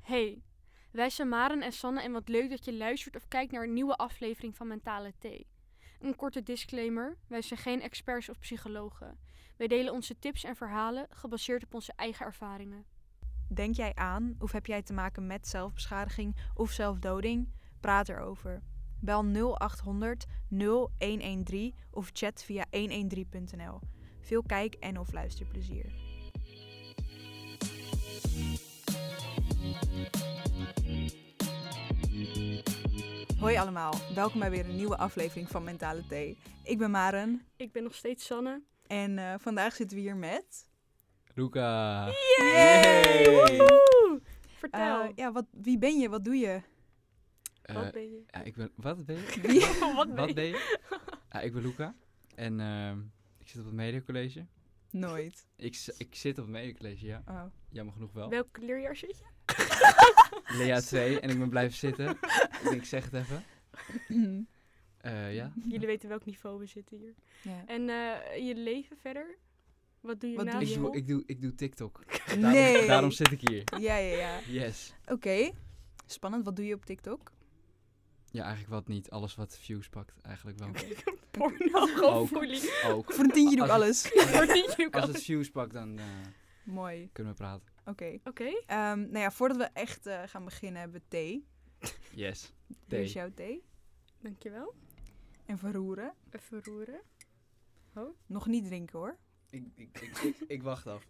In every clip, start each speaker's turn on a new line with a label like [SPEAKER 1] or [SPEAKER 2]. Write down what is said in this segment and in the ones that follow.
[SPEAKER 1] Hey, wij zijn Maren en Sanne en wat leuk dat je luistert of kijkt naar een nieuwe aflevering van Mentale Thee. Een korte disclaimer, wij zijn geen experts of psychologen. Wij delen onze tips en verhalen gebaseerd op onze eigen ervaringen.
[SPEAKER 2] Denk jij aan of heb jij te maken met zelfbeschadiging of zelfdoding? Praat erover. Bel 0800 0113 of chat via 113.nl. Veel kijk- en of luisterplezier. Hoi allemaal, welkom bij weer een nieuwe aflevering van Mentale Thee. Ik ben Maren
[SPEAKER 1] Ik ben nog steeds Sanne.
[SPEAKER 2] en eh, vandaag zitten we hier met...
[SPEAKER 3] Luca.
[SPEAKER 2] Yay!
[SPEAKER 1] Woehoe!
[SPEAKER 2] Eh,
[SPEAKER 1] Vertel,
[SPEAKER 2] ja, wat, wie ben je? Wat doe je?
[SPEAKER 3] Eh,
[SPEAKER 1] wat ben je?
[SPEAKER 3] ja, ik ben, wat ben je?
[SPEAKER 1] wat ben
[SPEAKER 3] Wat
[SPEAKER 1] je?
[SPEAKER 3] ben je? Ja, ik ben Luca en ehm, ik zit op het mediacollege.
[SPEAKER 2] Nooit.
[SPEAKER 3] Ik, z- ik zit op het mediacollege, ja.
[SPEAKER 2] Oh.
[SPEAKER 3] Jammer genoeg wel.
[SPEAKER 1] Welk leerjaar zit je?
[SPEAKER 3] Lea 2 en ik ben blijven zitten. ik, denk, ik zeg het even. Eh, ja.
[SPEAKER 1] Jullie weten welk niveau we zitten hier.
[SPEAKER 2] Ja.
[SPEAKER 1] En eh, je leven verder? Wat doe je
[SPEAKER 2] Wat
[SPEAKER 1] na
[SPEAKER 2] doe
[SPEAKER 3] Ik
[SPEAKER 1] je?
[SPEAKER 2] je?
[SPEAKER 3] doe, ik, doe, ik doe TikTok. Daarom,
[SPEAKER 2] Nee.
[SPEAKER 3] daarom zit ik hier.
[SPEAKER 2] Ja, ja, ja.
[SPEAKER 3] Yes.
[SPEAKER 2] Oké. Spannend. Wat doe je op TikTok?
[SPEAKER 3] Ja, eigenlijk wat niet. Alles wat views pakt, eigenlijk wel.
[SPEAKER 1] Porno, gewoon
[SPEAKER 3] Ook.
[SPEAKER 1] voelie.
[SPEAKER 3] Ook.
[SPEAKER 2] Voor een tientje doe ik
[SPEAKER 3] Als-
[SPEAKER 2] alles.
[SPEAKER 1] Waar vind je ook
[SPEAKER 3] Als
[SPEAKER 1] alles?
[SPEAKER 3] het views pakt, dan eh,
[SPEAKER 2] Mooi.
[SPEAKER 3] kunnen we praten.
[SPEAKER 2] Oké.
[SPEAKER 1] Oké,
[SPEAKER 2] Ehm, nou ja, voordat we echt eh, gaan beginnen hebben we thee.
[SPEAKER 3] Yes.
[SPEAKER 2] Hier is
[SPEAKER 3] Thee.
[SPEAKER 2] jouw thee.
[SPEAKER 1] dankjewel.
[SPEAKER 2] En verroeren.
[SPEAKER 1] Even roeren.
[SPEAKER 2] Nog niet drinken hoor.
[SPEAKER 3] Ik, ik, ik, ik, ik wacht af.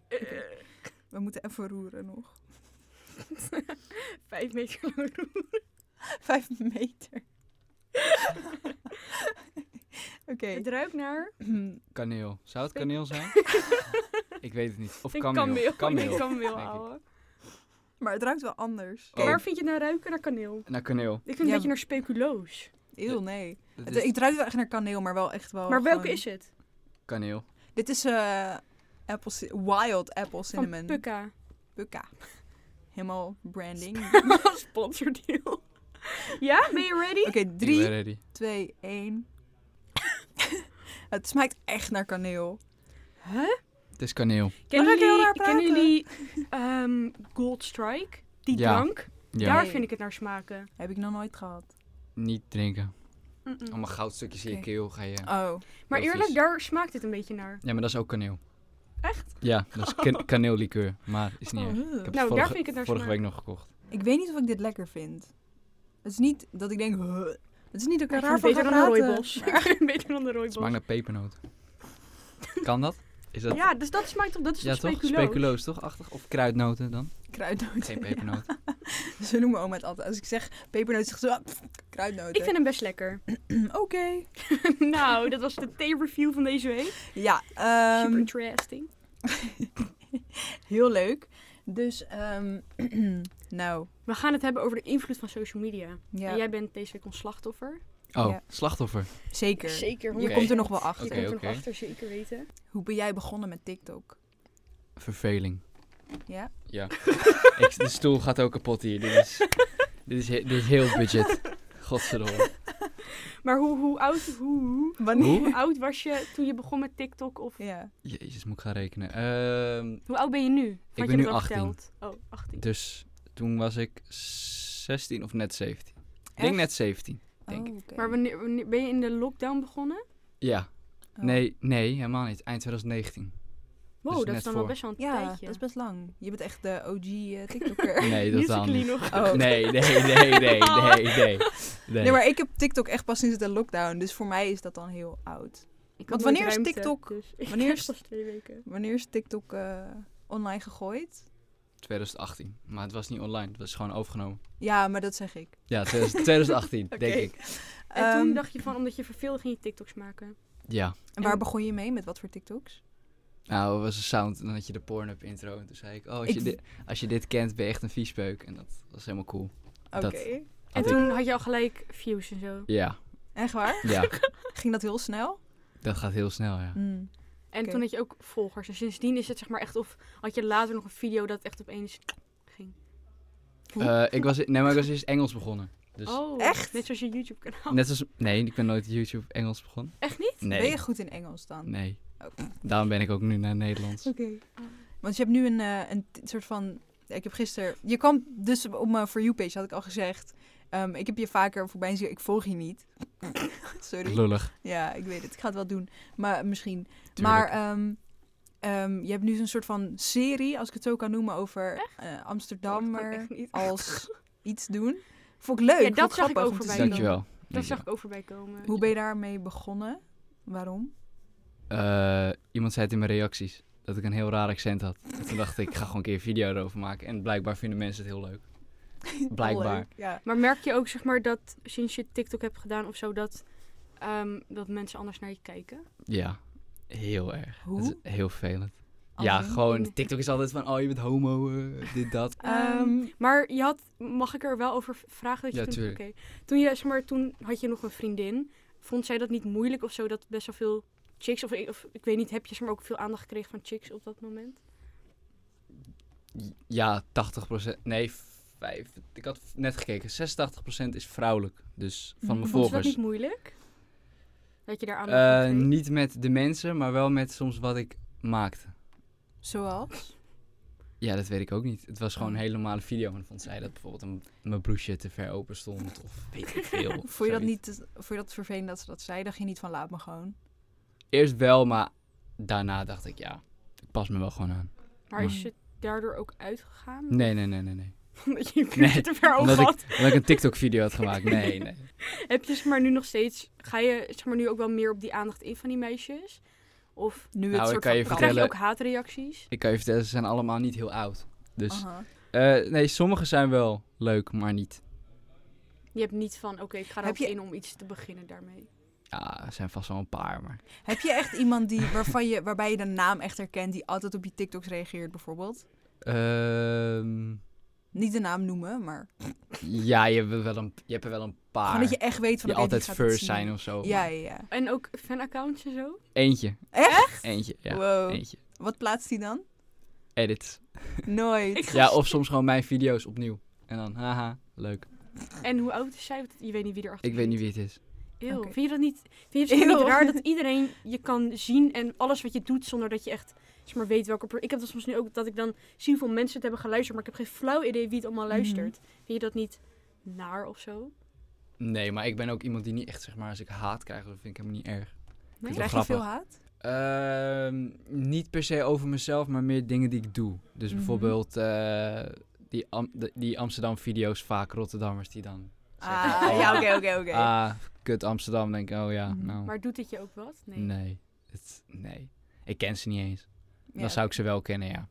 [SPEAKER 2] We moeten even roeren nog.
[SPEAKER 1] Vijf meter lang roeren.
[SPEAKER 2] Vijf meter. Oké.
[SPEAKER 1] Het ruikt naar
[SPEAKER 3] Kaneel. Zou het
[SPEAKER 1] Ik-
[SPEAKER 3] kaneel zijn? Oh. ik weet het niet. Of
[SPEAKER 1] Ik
[SPEAKER 3] kameel.
[SPEAKER 1] kameel. Ik denk kameel,
[SPEAKER 3] denk ik.
[SPEAKER 1] ouwe.
[SPEAKER 2] Maar het ruikt wel anders.
[SPEAKER 3] Oh.
[SPEAKER 1] Waar vind je het naar ruiken? Naar kaneel.
[SPEAKER 3] Naar Nou, kaneel.
[SPEAKER 1] Ik vind het een
[SPEAKER 2] Ja,
[SPEAKER 1] beetje naar speculoos.
[SPEAKER 2] Eeuw, nee.
[SPEAKER 3] Dat
[SPEAKER 2] Het,
[SPEAKER 3] is
[SPEAKER 2] het ruikt wel echt naar kaneel, maar wel echt wel
[SPEAKER 1] Maar welke
[SPEAKER 2] Oh, gewoon-
[SPEAKER 1] is het?
[SPEAKER 3] kaneel.
[SPEAKER 2] Dit is eh, apple, ci- wild apple
[SPEAKER 1] Van
[SPEAKER 2] cinnamon.
[SPEAKER 1] Pukka.
[SPEAKER 2] Bukka. Helemaal branding.
[SPEAKER 1] Sponsordeal. Ja, ben je ready?
[SPEAKER 2] Oké,
[SPEAKER 3] Ik
[SPEAKER 2] 3,
[SPEAKER 3] ben ready.
[SPEAKER 2] 2, 1. Het smaakt echt naar kaneel.
[SPEAKER 3] Het is kaneel.
[SPEAKER 1] Kennen
[SPEAKER 2] Waar ga ik heel
[SPEAKER 1] jullie,
[SPEAKER 2] raar
[SPEAKER 1] kennen
[SPEAKER 2] praten?
[SPEAKER 1] jullie ehm, Gold Strike? Die
[SPEAKER 3] Ja.
[SPEAKER 1] drank?
[SPEAKER 3] Ja.
[SPEAKER 1] Daar
[SPEAKER 2] Nee.
[SPEAKER 1] vind ik het naar smaken.
[SPEAKER 2] Heb ik nog nooit gehad.
[SPEAKER 3] Niet drinken.
[SPEAKER 1] Mm-mm.
[SPEAKER 3] Allemaal goudstukjes in je
[SPEAKER 2] Oké.
[SPEAKER 3] keel ga je...
[SPEAKER 2] Oh,
[SPEAKER 1] Maar
[SPEAKER 3] heel
[SPEAKER 1] eerlijk,
[SPEAKER 3] vies.
[SPEAKER 1] daar smaakt het een beetje naar. Nou,
[SPEAKER 3] Ja, maar dat is ook kaneel.
[SPEAKER 1] Echt?
[SPEAKER 3] Ja, dat is kan kaneellikeur. Maar is niet erg. Ik
[SPEAKER 2] Oh.
[SPEAKER 3] heb het
[SPEAKER 1] Nou, daar
[SPEAKER 3] vorige,
[SPEAKER 1] vind ik het naar
[SPEAKER 3] vorige
[SPEAKER 1] smaken.
[SPEAKER 3] week nog gekocht.
[SPEAKER 2] ik weet niet of ik dit lekker vind. Het is niet dat ik denk... "Huh." Het is niet dat ik er
[SPEAKER 1] Ik
[SPEAKER 2] raar
[SPEAKER 1] vind
[SPEAKER 2] van
[SPEAKER 1] het
[SPEAKER 2] ga
[SPEAKER 1] beter dan een
[SPEAKER 2] praten.
[SPEAKER 1] rooibos. Ik vind het beter dan een
[SPEAKER 3] Het smaakt
[SPEAKER 1] rooibos.
[SPEAKER 3] naar pepernoot. kan dat? Is dat...
[SPEAKER 1] Ja, dus dat smaakt toch, dat is
[SPEAKER 3] Ja,
[SPEAKER 1] toch
[SPEAKER 3] toch?
[SPEAKER 1] speculoos?
[SPEAKER 3] Speculoos, toch? Achtig? Of kruidnoten dan?
[SPEAKER 2] Kruidnoten.
[SPEAKER 3] Geen pepernoot.
[SPEAKER 2] Ze noemen oma het altijd. Als ik zeg pepernoten, zegt ze... "Ah, pff,
[SPEAKER 1] Ik
[SPEAKER 2] Kruidnoten.
[SPEAKER 1] vind hem best lekker.
[SPEAKER 2] Oké.
[SPEAKER 1] nou, dat was de thee-review van deze week.
[SPEAKER 2] Ja, ehm,
[SPEAKER 1] Super interesting.
[SPEAKER 2] heel leuk. Dus, ehm, nou,
[SPEAKER 1] We gaan het hebben over de invloed van social media.
[SPEAKER 2] ja,
[SPEAKER 1] En jij bent deze week ons slachtoffer.
[SPEAKER 3] Oh,
[SPEAKER 2] Ja.
[SPEAKER 3] slachtoffer.
[SPEAKER 2] zeker.
[SPEAKER 1] Zeker.
[SPEAKER 2] Je komt er nog wel achter.
[SPEAKER 1] Je
[SPEAKER 3] Oké,
[SPEAKER 1] komt er
[SPEAKER 3] oké.
[SPEAKER 1] nog achter, zeker weten.
[SPEAKER 2] Hoe ben jij begonnen met TikTok?
[SPEAKER 3] Verveling.
[SPEAKER 2] Ja?
[SPEAKER 3] Ja. ik, de stoel gaat ook kapot hier. Dit is, dit is, he- dit is heel budget. Godverdomme.
[SPEAKER 1] Maar hoe, hoe, oud, hoe, hoe,
[SPEAKER 3] Hoe?
[SPEAKER 1] hoe oud was je toen je begon met TikTok? Of
[SPEAKER 2] Ja.
[SPEAKER 3] Jezus, moet ik gaan rekenen. Ehm,
[SPEAKER 1] hoe oud ben je nu? Want
[SPEAKER 3] ben
[SPEAKER 1] je hebt
[SPEAKER 3] nu
[SPEAKER 1] wel
[SPEAKER 3] 18.
[SPEAKER 1] verteld. Oh, 18.
[SPEAKER 3] dus toen was ik 16 of net 17. Ik denk net 17. Denk
[SPEAKER 2] Oh, oké.
[SPEAKER 1] Maar wanneer, wanneer- ben je in de lockdown begonnen?
[SPEAKER 3] Ja.
[SPEAKER 2] Oh.
[SPEAKER 3] Nee, nee, helemaal niet. Eind 2019.
[SPEAKER 1] Wow,
[SPEAKER 3] Dus
[SPEAKER 1] dat is
[SPEAKER 3] net
[SPEAKER 1] dan wel
[SPEAKER 3] voor.
[SPEAKER 1] best wel een
[SPEAKER 2] Ja,
[SPEAKER 1] tijdje.
[SPEAKER 2] dat is best lang. Je bent echt de OG eh, TikToker. nee.
[SPEAKER 3] Nee, totaal
[SPEAKER 1] Musically
[SPEAKER 3] niet.
[SPEAKER 1] nog.
[SPEAKER 2] Oh.
[SPEAKER 3] Nee, nee, nee, nee, nee, nee. nee.
[SPEAKER 2] maar ik heb TikTok echt pas sinds de lockdown. Dus voor mij is dat dan heel oud.
[SPEAKER 1] Ik had
[SPEAKER 2] Want
[SPEAKER 1] nooit
[SPEAKER 2] wanneer is
[SPEAKER 1] ruimte,
[SPEAKER 2] TikTok?
[SPEAKER 1] dus ik
[SPEAKER 2] Wanneer
[SPEAKER 1] heb
[SPEAKER 2] is-
[SPEAKER 1] pas twee weken.
[SPEAKER 2] Wanneer is TikTok eh, online gegooid?
[SPEAKER 3] 2018. Maar het was niet online. Het was gewoon overgenomen.
[SPEAKER 2] Ja, maar dat zeg ik.
[SPEAKER 3] Ja, 2000 2018,
[SPEAKER 2] Oké.
[SPEAKER 3] denk ik.
[SPEAKER 1] En toen
[SPEAKER 2] Ehm,
[SPEAKER 1] dacht je van, omdat je verveelde, ging je TikToks maken.
[SPEAKER 3] Ja.
[SPEAKER 2] En waar begon je mee? Met wat voor TikToks?
[SPEAKER 3] Nou, het was een sound. En dan had je de Pornhub intro. En toen zei ik, oh, als,
[SPEAKER 2] Ik-
[SPEAKER 3] Je, dit, als je dit kent, ben je echt een viespeuk. En dat was helemaal cool.
[SPEAKER 2] Oké.
[SPEAKER 3] Dat-
[SPEAKER 1] En
[SPEAKER 3] Had ik-
[SPEAKER 1] toen had je al gelijk views en zo.
[SPEAKER 3] Ja,
[SPEAKER 2] Echt waar?
[SPEAKER 3] ja.
[SPEAKER 2] Ging dat heel snel?
[SPEAKER 3] dat gaat heel snel, ja.
[SPEAKER 2] Mm.
[SPEAKER 1] En
[SPEAKER 2] Oké.
[SPEAKER 1] toen had je ook volgers. En sindsdien is het zeg maar echt of had je later nog een video dat echt opeens ging.
[SPEAKER 3] Eh, ik was, nee, maar ik was eerst Engels begonnen. Dus
[SPEAKER 1] oh,
[SPEAKER 2] Echt?
[SPEAKER 1] Net zoals je YouTube kanaal.
[SPEAKER 3] net als, nee, ik ben nooit YouTube Engels begonnen.
[SPEAKER 1] Echt niet?
[SPEAKER 3] Nee.
[SPEAKER 2] Ben je goed in Engels dan?
[SPEAKER 3] Nee.
[SPEAKER 2] Oké.
[SPEAKER 3] Daarom ben ik ook nu naar Nederlands.
[SPEAKER 2] Oké. Want je hebt nu een, eh, een t- soort van ik heb gisteren... Je kwam dus op mijn For You-page, had ik al gezegd. Ehm, ik heb je vaker voorbij zien. Ik volg je niet. Sorry.
[SPEAKER 3] Lullig.
[SPEAKER 2] Ja, ik weet het. Ik ga het wel doen. Maar misschien.
[SPEAKER 3] Tuurlijk.
[SPEAKER 2] Maar ehm, ehm, je hebt nu zo'n soort van serie, als ik het zo kan noemen, over
[SPEAKER 1] Oh,
[SPEAKER 2] eh Amsterdammer
[SPEAKER 1] Echt niet.
[SPEAKER 2] als iets doen. Vond ik leuk.
[SPEAKER 1] Ja,
[SPEAKER 2] vond
[SPEAKER 1] dat zag ik
[SPEAKER 2] grappig
[SPEAKER 1] ook
[SPEAKER 2] om te
[SPEAKER 1] voorbij
[SPEAKER 2] zien.
[SPEAKER 1] komen.
[SPEAKER 3] Dankjewel.
[SPEAKER 1] Daar
[SPEAKER 3] Dankjewel.
[SPEAKER 1] zag ik ook voorbij komen.
[SPEAKER 2] Hoe ben je daarmee begonnen? Waarom?
[SPEAKER 3] Eh, iemand zei het in mijn reacties dat ik een heel raar accent had. En toen dacht ik, ik ga gewoon een keer een video erover maken. En blijkbaar vinden mensen het heel leuk. Blijkbaar.
[SPEAKER 2] Leuk, Ja.
[SPEAKER 1] Maar merk je ook, zeg maar, dat sinds je TikTok hebt gedaan of zo, dat, ehm, dat mensen anders naar je kijken?
[SPEAKER 3] Ja, heel erg.
[SPEAKER 2] Hoe?
[SPEAKER 3] Het is heel vervelend.
[SPEAKER 2] Als
[SPEAKER 3] ja,
[SPEAKER 2] in?
[SPEAKER 3] gewoon TikTok is altijd van, oh je bent homo, eh, dit, dat.
[SPEAKER 2] Ehm,
[SPEAKER 1] Maar je had, mag ik er wel over v- vragen? Dat je
[SPEAKER 3] Ja,
[SPEAKER 1] toen,
[SPEAKER 3] tuurlijk.
[SPEAKER 1] oké. Toen, je, zeg maar, toen had je nog een vriendin. Vond zij dat niet moeilijk of zo, dat best wel veel chicks, of, of ik weet niet, heb je zeg maar, ook veel aandacht gekregen van chicks op dat moment?
[SPEAKER 3] Ja, 80%, nee, 5, ik had net gekeken, 86% is vrouwelijk. Dus van mijn
[SPEAKER 2] Mhm.
[SPEAKER 1] Vond je dat
[SPEAKER 3] volgers.
[SPEAKER 1] niet moeilijk? Dat je daar aandacht
[SPEAKER 3] Eh,
[SPEAKER 1] van kreeg?
[SPEAKER 3] niet met de mensen, maar wel met soms wat ik maakte.
[SPEAKER 2] Zoals?
[SPEAKER 3] Ja, dat weet ik ook niet. Het was gewoon een
[SPEAKER 2] Oh.
[SPEAKER 3] hele normale video. En vond zij dat bijvoorbeeld een, mijn bloesje te ver open stond. Of weet ik veel. of
[SPEAKER 2] Vond je, dat
[SPEAKER 3] zoiets.
[SPEAKER 2] niet, vond je dat vervelend dat ze dat zei? Dacht je niet van laat me gewoon?
[SPEAKER 3] Eerst wel, maar daarna dacht ik, ja, ik pas me wel gewoon aan.
[SPEAKER 1] Maar is
[SPEAKER 2] Mm.
[SPEAKER 1] je daardoor ook uitgegaan?
[SPEAKER 3] Nee, nee, nee, nee, nee.
[SPEAKER 1] Omdat je je buurtje
[SPEAKER 3] Nee,
[SPEAKER 1] te
[SPEAKER 2] Oh,
[SPEAKER 1] ver over
[SPEAKER 3] omdat ik-
[SPEAKER 1] had?
[SPEAKER 3] Omdat ik een TikTok-video had gemaakt. Nee, nee.
[SPEAKER 1] Heb je zeg maar nu nog steeds, ga je zeg maar nu ook wel meer op die aandacht in van die meisjes? Of
[SPEAKER 2] Nu
[SPEAKER 3] Nou,
[SPEAKER 2] het
[SPEAKER 3] ik
[SPEAKER 2] soort
[SPEAKER 3] kan
[SPEAKER 2] van
[SPEAKER 3] je
[SPEAKER 2] praat-
[SPEAKER 1] krijg je
[SPEAKER 3] vertellen-
[SPEAKER 1] ook haatreacties?
[SPEAKER 3] Ik kan je vertellen, ze zijn allemaal niet heel oud. Dus,
[SPEAKER 2] Aha.
[SPEAKER 3] eh, nee, sommige zijn wel leuk, maar niet.
[SPEAKER 1] Je hebt niet van, oké, ik ga erop
[SPEAKER 2] Heb je-
[SPEAKER 1] in om iets te beginnen daarmee.
[SPEAKER 3] Ja, er zijn vast wel een paar, maar...
[SPEAKER 2] Heb je echt iemand die, waarvan je, waarbij je de naam echt herkent, die altijd op je TikToks reageert bijvoorbeeld?
[SPEAKER 3] Ehm,
[SPEAKER 2] Niet de naam noemen, maar
[SPEAKER 3] ja, je hebt, wel een, je hebt er wel een paar.
[SPEAKER 2] gewoon dat je echt weet van...
[SPEAKER 3] Ah, die
[SPEAKER 2] oké, die
[SPEAKER 3] altijd
[SPEAKER 2] gaat het
[SPEAKER 3] first
[SPEAKER 2] zien.
[SPEAKER 3] zijn of zo.
[SPEAKER 2] Ja, ja, ja.
[SPEAKER 1] En ook fanaccounts en zo?
[SPEAKER 3] Eentje.
[SPEAKER 2] Echt?
[SPEAKER 3] Eentje, ja.
[SPEAKER 2] wow.
[SPEAKER 3] Eentje.
[SPEAKER 2] Wat plaatst hij dan?
[SPEAKER 3] Edits.
[SPEAKER 2] Nooit.
[SPEAKER 1] Ik-
[SPEAKER 3] Ja, of soms gewoon mijn video's opnieuw. En dan, haha, leuk.
[SPEAKER 1] En hoe oud is zij? Want Je weet niet wie erachter
[SPEAKER 3] Ik weet niet wie het is.
[SPEAKER 1] wie.
[SPEAKER 2] Oké.
[SPEAKER 1] Vind je dat niet, vind je het
[SPEAKER 2] Eeuw.
[SPEAKER 1] niet raar dat iedereen je kan zien en alles wat je doet zonder dat je echt zeg maar, weet welke... per- Ik heb dat soms nu ook, dat ik dan zie hoeveel mensen het hebben geluisterd, maar ik heb geen flauw idee wie het
[SPEAKER 2] Mhm.
[SPEAKER 1] allemaal luistert. Vind je dat niet naar of zo?
[SPEAKER 3] Nee, maar ik ben ook iemand die niet echt, zeg maar, als ik haat krijg, dat vind ik helemaal niet erg.
[SPEAKER 1] Nee?
[SPEAKER 3] is wel
[SPEAKER 2] Krijg je veel
[SPEAKER 3] grappig.
[SPEAKER 2] haat?
[SPEAKER 3] Ehm, niet per se over mezelf, maar meer dingen die ik doe. Dus
[SPEAKER 2] Mhm.
[SPEAKER 3] bijvoorbeeld eh, die, Am- de- die Amsterdam-video's, vaak Rotterdammers die dan zeggen,
[SPEAKER 2] Ah,
[SPEAKER 3] oh,
[SPEAKER 2] ja, oké, oké, oké.
[SPEAKER 3] Ah, kut Amsterdam, denk ik, oh ja,
[SPEAKER 2] Mhm.
[SPEAKER 3] nou,
[SPEAKER 1] Maar doet het je ook wat?
[SPEAKER 3] nee. Het, nee, ik ken ze niet eens.
[SPEAKER 2] Ja,
[SPEAKER 3] Dan zou ik ze wel kennen, ja.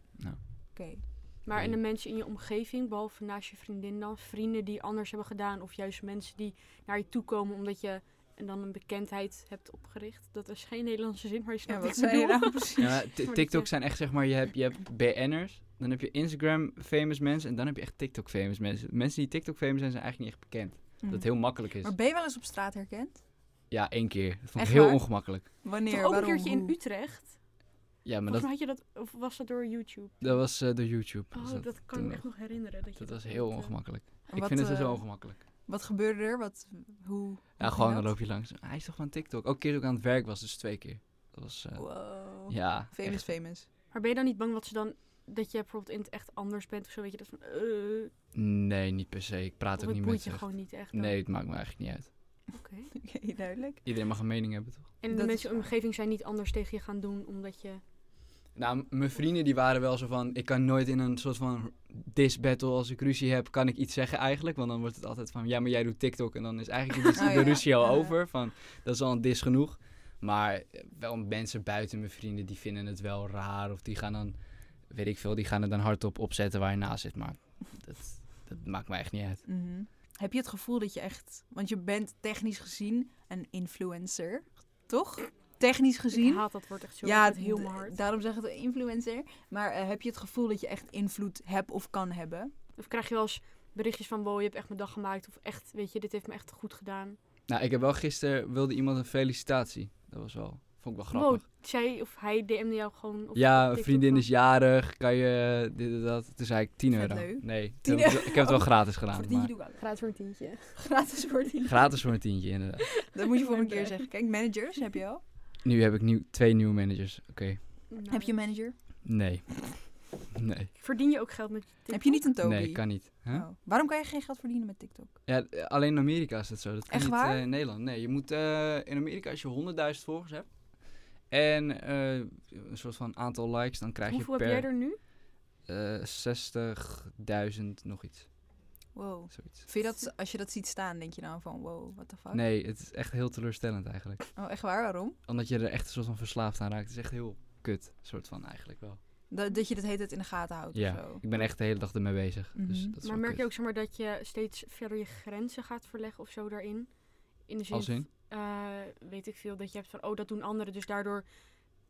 [SPEAKER 2] Oké.
[SPEAKER 1] Maar en de
[SPEAKER 3] Nee.
[SPEAKER 1] mensen in je omgeving, behalve naast je vriendin dan, vrienden die anders hebben gedaan, of juist mensen die naar je toe komen omdat je en dan een bekendheid hebt opgericht. Dat is geen Nederlandse zin, maar je
[SPEAKER 2] Ja,
[SPEAKER 1] snapt
[SPEAKER 2] wat
[SPEAKER 1] wat ik
[SPEAKER 2] zei je
[SPEAKER 1] bedoel.
[SPEAKER 2] nou precies?
[SPEAKER 3] Ja, maar t-
[SPEAKER 1] Maar dat
[SPEAKER 3] TikTok
[SPEAKER 1] je-
[SPEAKER 3] zijn echt, zeg maar, je hebt, je hebt BN'ers, dan heb je Instagram-famous mensen en dan heb je echt TikTok-famous mensen. Mensen die TikTok-famous zijn, zijn eigenlijk niet echt bekend. Dat het heel makkelijk is.
[SPEAKER 2] Hmm. Mhm. Maar ben je wel eens op straat herkend?
[SPEAKER 3] Ja, één keer. Dat vond
[SPEAKER 2] Echt
[SPEAKER 3] ik heel
[SPEAKER 2] waar?
[SPEAKER 3] ongemakkelijk.
[SPEAKER 2] Wanneer,
[SPEAKER 1] Toch ook een
[SPEAKER 2] waarom,
[SPEAKER 1] keertje in
[SPEAKER 2] hoe?
[SPEAKER 1] Utrecht.
[SPEAKER 3] Ja, maar
[SPEAKER 1] Volgens
[SPEAKER 3] dat,
[SPEAKER 1] mij had je dat, of was dat door YouTube?
[SPEAKER 3] dat was eh, door YouTube.
[SPEAKER 1] Oh,
[SPEAKER 3] was
[SPEAKER 1] dat,
[SPEAKER 3] dat,
[SPEAKER 1] kan ik
[SPEAKER 3] toen
[SPEAKER 1] me echt nog herinneren. Dat, je dat
[SPEAKER 3] dat was heel
[SPEAKER 1] deed, eh.
[SPEAKER 3] ongemakkelijk.
[SPEAKER 2] En
[SPEAKER 3] ik
[SPEAKER 2] wat,
[SPEAKER 3] vind het
[SPEAKER 2] eh,
[SPEAKER 3] zo ongemakkelijk.
[SPEAKER 2] Wat gebeurde er? Wat, hoe? hoe
[SPEAKER 3] Ja,
[SPEAKER 2] ging
[SPEAKER 3] gewoon dan
[SPEAKER 2] dat?
[SPEAKER 3] loop je langs. Ah, Hij is toch van TikTok? Ook een keer dat ik aan het werk was, dus twee keer. Dat was, eh,
[SPEAKER 2] Wow.
[SPEAKER 3] ja,
[SPEAKER 2] Oh, Famous,
[SPEAKER 3] echt.
[SPEAKER 2] famous.
[SPEAKER 1] Maar ben je dan niet bang wat ze dan, dat je bijvoorbeeld in het echt anders bent of zo? Weet je dat van, eh,
[SPEAKER 3] Nee, niet per se. Ik praat
[SPEAKER 1] of
[SPEAKER 3] ook
[SPEAKER 1] het
[SPEAKER 3] niet
[SPEAKER 1] boeit
[SPEAKER 3] met
[SPEAKER 1] je
[SPEAKER 3] ze.
[SPEAKER 1] gewoon niet echt. dan?
[SPEAKER 3] Nee, het maakt me eigenlijk niet uit.
[SPEAKER 1] Oké.
[SPEAKER 2] Oké, duidelijk.
[SPEAKER 3] Iedereen mag een mening hebben, toch?
[SPEAKER 1] En
[SPEAKER 2] Dat
[SPEAKER 1] de
[SPEAKER 2] is
[SPEAKER 1] mensen in je
[SPEAKER 2] waar.
[SPEAKER 1] omgeving zijn niet anders tegen je gaan doen omdat je...
[SPEAKER 3] Nou, m- mijn vrienden die waren wel zo van... Ik kan nooit in een soort van diss battle als ik ruzie heb... kan ik iets zeggen eigenlijk. Want dan wordt het altijd van... Ja, maar jij doet TikTok. En dan is eigenlijk de, dis-
[SPEAKER 2] Oh,
[SPEAKER 3] de
[SPEAKER 2] ja.
[SPEAKER 3] ruzie al
[SPEAKER 2] Ja.
[SPEAKER 3] over. Van, dat is al een diss genoeg. Maar eh, wel mensen buiten mijn vrienden... die vinden het wel raar. Of die gaan dan... Weet ik veel, die gaan het dan hardop opzetten waar je naast zit. Maar dat, dat maakt me echt niet uit.
[SPEAKER 2] Mhm. Heb je het gevoel dat je echt... Want je bent technisch gezien een influencer, toch? Technisch
[SPEAKER 1] Ik
[SPEAKER 2] gezien.
[SPEAKER 1] haat dat wordt echt zo ja, heel
[SPEAKER 2] d-
[SPEAKER 1] hard.
[SPEAKER 2] daarom zeg ik het influencer. Maar eh, heb je het gevoel dat je echt invloed hebt of kan hebben?
[SPEAKER 1] Of krijg je wel eens berichtjes van, wow, je hebt echt mijn dag gemaakt. Of echt, weet je, dit heeft me echt goed gedaan.
[SPEAKER 3] Nou, ik heb wel gisteren... wilde iemand een felicitatie. Dat was wel... Vond ik wel grappig.
[SPEAKER 1] Wow, zij of hij DM'de jou gewoon op
[SPEAKER 3] Ja,
[SPEAKER 1] op
[SPEAKER 3] een
[SPEAKER 1] TikTok
[SPEAKER 3] vriendin
[SPEAKER 1] van,
[SPEAKER 3] is jarig, kan je dit en dat. Toen zei ik 10
[SPEAKER 2] Vet
[SPEAKER 3] euro.
[SPEAKER 2] leuk.
[SPEAKER 3] Nee,
[SPEAKER 2] 10
[SPEAKER 3] toen heb ik, het- ik heb het wel gratis gedaan.
[SPEAKER 2] Verdien je
[SPEAKER 3] Maar
[SPEAKER 2] doe alles.
[SPEAKER 1] Gratis voor een tientje.
[SPEAKER 2] Gratis voor die.
[SPEAKER 3] gratis voor een tientje, inderdaad.
[SPEAKER 2] Dat moet je voor een keer
[SPEAKER 1] Blij.
[SPEAKER 2] zeggen. Kijk, managers heb je al.
[SPEAKER 3] Nu heb ik nieuw, twee nieuwe managers. Oké,
[SPEAKER 1] Nou,
[SPEAKER 2] Heb je een manager?
[SPEAKER 3] nee. Nee,
[SPEAKER 1] Verdien je ook geld met TikTok?
[SPEAKER 2] Heb je niet een Toby?
[SPEAKER 3] nee kan niet. Huh?
[SPEAKER 2] Oh. Waarom kan je geen geld verdienen met TikTok?
[SPEAKER 3] Ja, d- alleen in Amerika is dat zo. Dat kan
[SPEAKER 2] Echt
[SPEAKER 3] niet
[SPEAKER 2] waar?
[SPEAKER 3] eh, in Nederland. Nee, je moet eh, in Amerika als je 100.000 volgers hebt en eh, een soort van aantal likes, dan krijg
[SPEAKER 1] Hoeveel
[SPEAKER 3] je
[SPEAKER 1] heb jij
[SPEAKER 3] per
[SPEAKER 1] er nu?
[SPEAKER 3] eh 60.000 nog iets.
[SPEAKER 2] Wow.
[SPEAKER 3] Zoiets.
[SPEAKER 2] Vind je dat, als je dat ziet staan, denk je dan van wow, what the fuck?
[SPEAKER 3] Nee, het is echt heel teleurstellend eigenlijk.
[SPEAKER 2] Oh, echt waar? Waarom?
[SPEAKER 3] Omdat je er echt een soort van verslaafd aan raakt. Het is echt heel kut, soort van eigenlijk wel.
[SPEAKER 2] Dat, dat je dat heet het in de gaten houdt
[SPEAKER 3] Ja.
[SPEAKER 2] of zo.
[SPEAKER 3] Ik ben echt de hele dag ermee bezig. dus
[SPEAKER 2] Mhm.
[SPEAKER 3] dat is
[SPEAKER 1] Maar
[SPEAKER 3] wel
[SPEAKER 1] merk je
[SPEAKER 3] kut.
[SPEAKER 1] ook zeg maar, dat je steeds verder je grenzen gaat verleggen of zo daarin? In de zin,
[SPEAKER 3] Als in?
[SPEAKER 1] eh, weet ik veel, dat je hebt van, oh, dat doen anderen. Dus daardoor,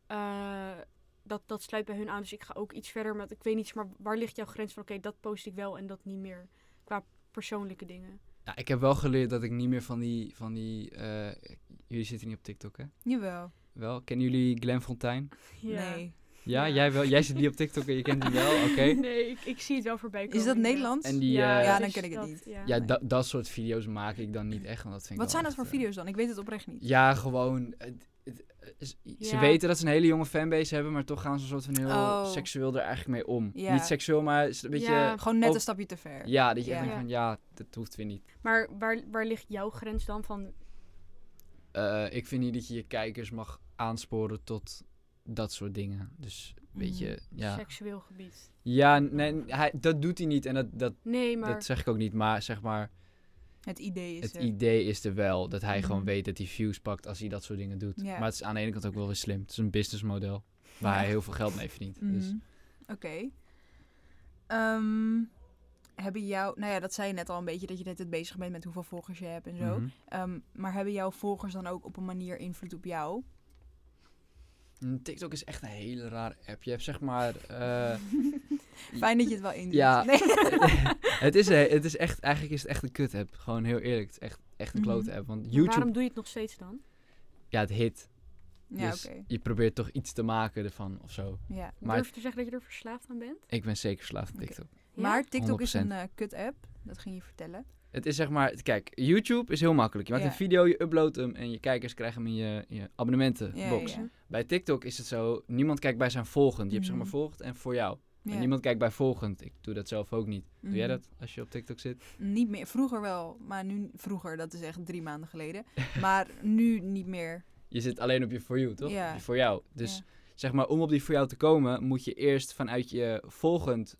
[SPEAKER 1] eh, dat, dat sluit bij hun aan. Dus ik ga ook iets verder. Maar ik weet niet, maar waar ligt jouw grens van, oké, dat post ik wel en dat niet meer. Qua persoonlijke dingen.
[SPEAKER 3] Ja, ik heb wel geleerd dat ik niet meer van die... Van die eh, jullie zitten niet op TikTok, hè?
[SPEAKER 2] Jawel.
[SPEAKER 3] Wel? Kennen jullie Glenn Fontijn?
[SPEAKER 2] Nee.
[SPEAKER 3] Ja,
[SPEAKER 1] Ja.
[SPEAKER 3] jij wel. Jij zit niet op TikTok en je kent die wel, oké.
[SPEAKER 1] Nee, ik, ik zie het wel voorbij komen.
[SPEAKER 2] Is dat
[SPEAKER 1] inderdaad.
[SPEAKER 2] Nederlands?
[SPEAKER 3] En die, eh,
[SPEAKER 2] Ja,
[SPEAKER 1] dat
[SPEAKER 2] dan
[SPEAKER 1] is
[SPEAKER 2] ken ik het
[SPEAKER 1] dat,
[SPEAKER 2] niet.
[SPEAKER 1] Ja.
[SPEAKER 3] Ja,
[SPEAKER 2] nee.
[SPEAKER 3] da- dat soort video's maak ik dan niet echt, want dat vind ik
[SPEAKER 2] Wat zijn
[SPEAKER 3] wel
[SPEAKER 2] dat voor
[SPEAKER 3] echt, eh,
[SPEAKER 2] video's dan? Ik weet het oprecht niet.
[SPEAKER 3] Ja, gewoon... het- het- eh, is- Ze
[SPEAKER 1] Ja.
[SPEAKER 3] weten dat ze een hele jonge fanbase hebben, maar toch gaan ze een soort van heel
[SPEAKER 2] Oh.
[SPEAKER 3] seksueel er eigenlijk mee om.
[SPEAKER 2] Ja.
[SPEAKER 3] Niet seksueel, maar is een beetje...
[SPEAKER 1] Ja.
[SPEAKER 3] Ja,
[SPEAKER 2] Gewoon net
[SPEAKER 3] ook-
[SPEAKER 2] een stapje te ver.
[SPEAKER 3] dat je echt
[SPEAKER 2] Ja.
[SPEAKER 3] denkt van, ja, dat hoeft weer niet.
[SPEAKER 1] Maar waar, waar ligt jouw grens dan van?
[SPEAKER 3] Eh, ik vind niet dat je je kijkers mag aansporen tot dat soort dingen. Dus, weet
[SPEAKER 2] Mm.
[SPEAKER 3] je, ja.
[SPEAKER 1] Seksueel gebied.
[SPEAKER 3] Ja, nee, hij, dat doet hij niet en dat, dat,
[SPEAKER 1] Nee, maar
[SPEAKER 3] dat zeg ik ook niet. Maar zeg maar,
[SPEAKER 2] Het idee is
[SPEAKER 3] het
[SPEAKER 2] er.
[SPEAKER 3] idee is er wel dat hij gewoon
[SPEAKER 2] Mhm.
[SPEAKER 3] weet dat hij views pakt als hij dat soort dingen doet.
[SPEAKER 2] Ja.
[SPEAKER 3] Maar het is aan de ene kant ook wel weer slim. Het is een businessmodel waar
[SPEAKER 2] Ja.
[SPEAKER 3] hij heel veel geld mee verdient. Dus
[SPEAKER 2] Mhm. Oké. Ehm, hebben jou, nou ja, dat zei je net al een beetje dat je net het bezig bent met hoeveel volgers je hebt en zo.
[SPEAKER 3] mhm.
[SPEAKER 2] Ehm, maar hebben jouw volgers dan ook op een manier invloed op jou?
[SPEAKER 3] Mm, TikTok is echt een hele rare app. Je hebt zeg maar. eh,
[SPEAKER 2] Fijn dat je het wel inziet.
[SPEAKER 3] Ja.
[SPEAKER 2] Nee.
[SPEAKER 3] het, is, een- het is echt. Eigenlijk is het echt een kut app. Gewoon heel eerlijk. Het is echt, echt een
[SPEAKER 2] Mhm.
[SPEAKER 3] klote app. Want YouTube.
[SPEAKER 1] waarom doe je het nog steeds dan?
[SPEAKER 3] Ja, het hit.
[SPEAKER 2] Ja,
[SPEAKER 3] dus
[SPEAKER 2] oké.
[SPEAKER 3] je probeert toch iets te maken ervan of zo.
[SPEAKER 2] Ja.
[SPEAKER 3] Maar-
[SPEAKER 1] Durf je te zeggen dat je er verslaafd aan bent?
[SPEAKER 3] Ik ben zeker verslaafd aan
[SPEAKER 2] Oké.
[SPEAKER 3] TikTok.
[SPEAKER 2] Maar TikTok is een
[SPEAKER 3] 100%.
[SPEAKER 2] eh, kut-app. Dat ging je vertellen.
[SPEAKER 3] Het is zeg maar, kijk, YouTube is heel makkelijk. Je maakt
[SPEAKER 2] Ja.
[SPEAKER 3] een video, je uploadt hem en je kijkers krijgen hem in je, in je
[SPEAKER 2] Ja,
[SPEAKER 3] abonnementenbox.
[SPEAKER 2] ja.
[SPEAKER 3] Bij TikTok is het zo, niemand kijkt bij zijn volgend. Je hebt zeg maar
[SPEAKER 2] Mhm.
[SPEAKER 3] volgend en voor jou.
[SPEAKER 2] Ja.
[SPEAKER 3] En niemand kijkt bij volgend. Ik doe dat zelf ook niet. Doe jij
[SPEAKER 2] Mhm.
[SPEAKER 3] dat als je op TikTok zit?
[SPEAKER 2] Niet meer. Vroeger wel, maar nu vroeger, dat is echt drie maanden geleden. Maar nu niet meer.
[SPEAKER 3] Je zit alleen op je For You, toch?
[SPEAKER 2] Ja.
[SPEAKER 3] Op je Voor jou. Dus zeg maar, om op die Voor jou te komen, moet je eerst vanuit je volgend,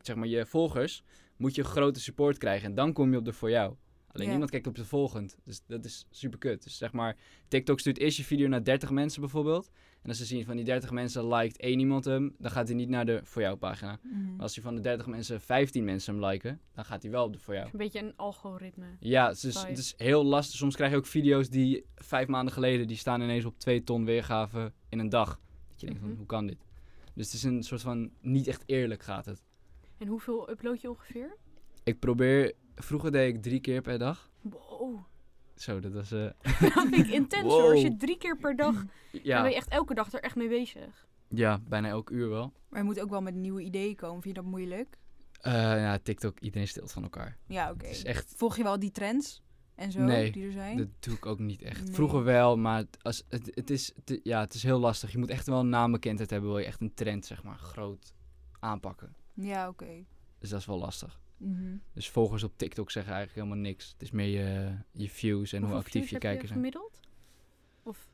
[SPEAKER 3] zeg maar je volgers, moet je grote support krijgen. En dan kom je op de Voor jou. Alleen
[SPEAKER 2] Ja.
[SPEAKER 3] niemand kijkt op de volgend. Dus dat is super kut. Dus zeg maar, TikTok stuurt eerst je video naar 30 mensen bijvoorbeeld. En als ze zien van die 30 mensen liked één iemand hem, dan gaat hij niet naar de Voor jou pagina.
[SPEAKER 2] Ja.
[SPEAKER 3] Maar
[SPEAKER 2] Mhm.
[SPEAKER 3] als hij van de 30 mensen 15 mensen hem liken, dan gaat hij wel op de Voor jou.
[SPEAKER 1] Een beetje een algoritme.
[SPEAKER 3] Ja, het is,
[SPEAKER 1] Sorry.
[SPEAKER 3] het is heel lastig. Soms krijg je ook video's die vijf maanden geleden, die staan ineens op twee ton weergave in een dag. Dat je denkt van,
[SPEAKER 1] Mhm.
[SPEAKER 3] hoe kan dit? Dus het is een soort van, niet echt eerlijk gaat het.
[SPEAKER 1] En hoeveel upload je ongeveer?
[SPEAKER 3] Ik probeer, vroeger deed ik drie keer per dag.
[SPEAKER 1] Wow.
[SPEAKER 3] Zo, dat was, eh,
[SPEAKER 1] Dat vind ik intens hoor. Als je
[SPEAKER 3] Wow.
[SPEAKER 1] drie keer per dag, dan ben
[SPEAKER 3] ja,
[SPEAKER 1] je echt elke dag er echt mee bezig.
[SPEAKER 3] ja, bijna elk uur wel.
[SPEAKER 2] Maar je moet ook wel met nieuwe ideeën komen. Vind je dat moeilijk?
[SPEAKER 3] Eh, ja, TikTok, iedereen stilt van elkaar.
[SPEAKER 2] Ja, oké.
[SPEAKER 3] Het is echt,
[SPEAKER 2] Volg je wel die trends en zo
[SPEAKER 3] Nee,
[SPEAKER 2] die er zijn?
[SPEAKER 3] dat doe ik ook niet echt.
[SPEAKER 2] Nee.
[SPEAKER 3] Vroeger wel, maar het- als, het, het, is, het- ja, het is heel lastig. Je moet echt wel een naambekendheid hebben, wil je echt een trend, zeg maar, groot aanpakken.
[SPEAKER 2] Ja, oké.
[SPEAKER 3] Dus dat is wel lastig.
[SPEAKER 2] Mhm.
[SPEAKER 3] Dus volgers op TikTok zeggen eigenlijk helemaal niks. Het is meer je, je views en
[SPEAKER 1] Hoeveel
[SPEAKER 3] hoe actief
[SPEAKER 1] views
[SPEAKER 3] je
[SPEAKER 1] heb
[SPEAKER 3] kijkers zijn.
[SPEAKER 1] gemiddeld? Of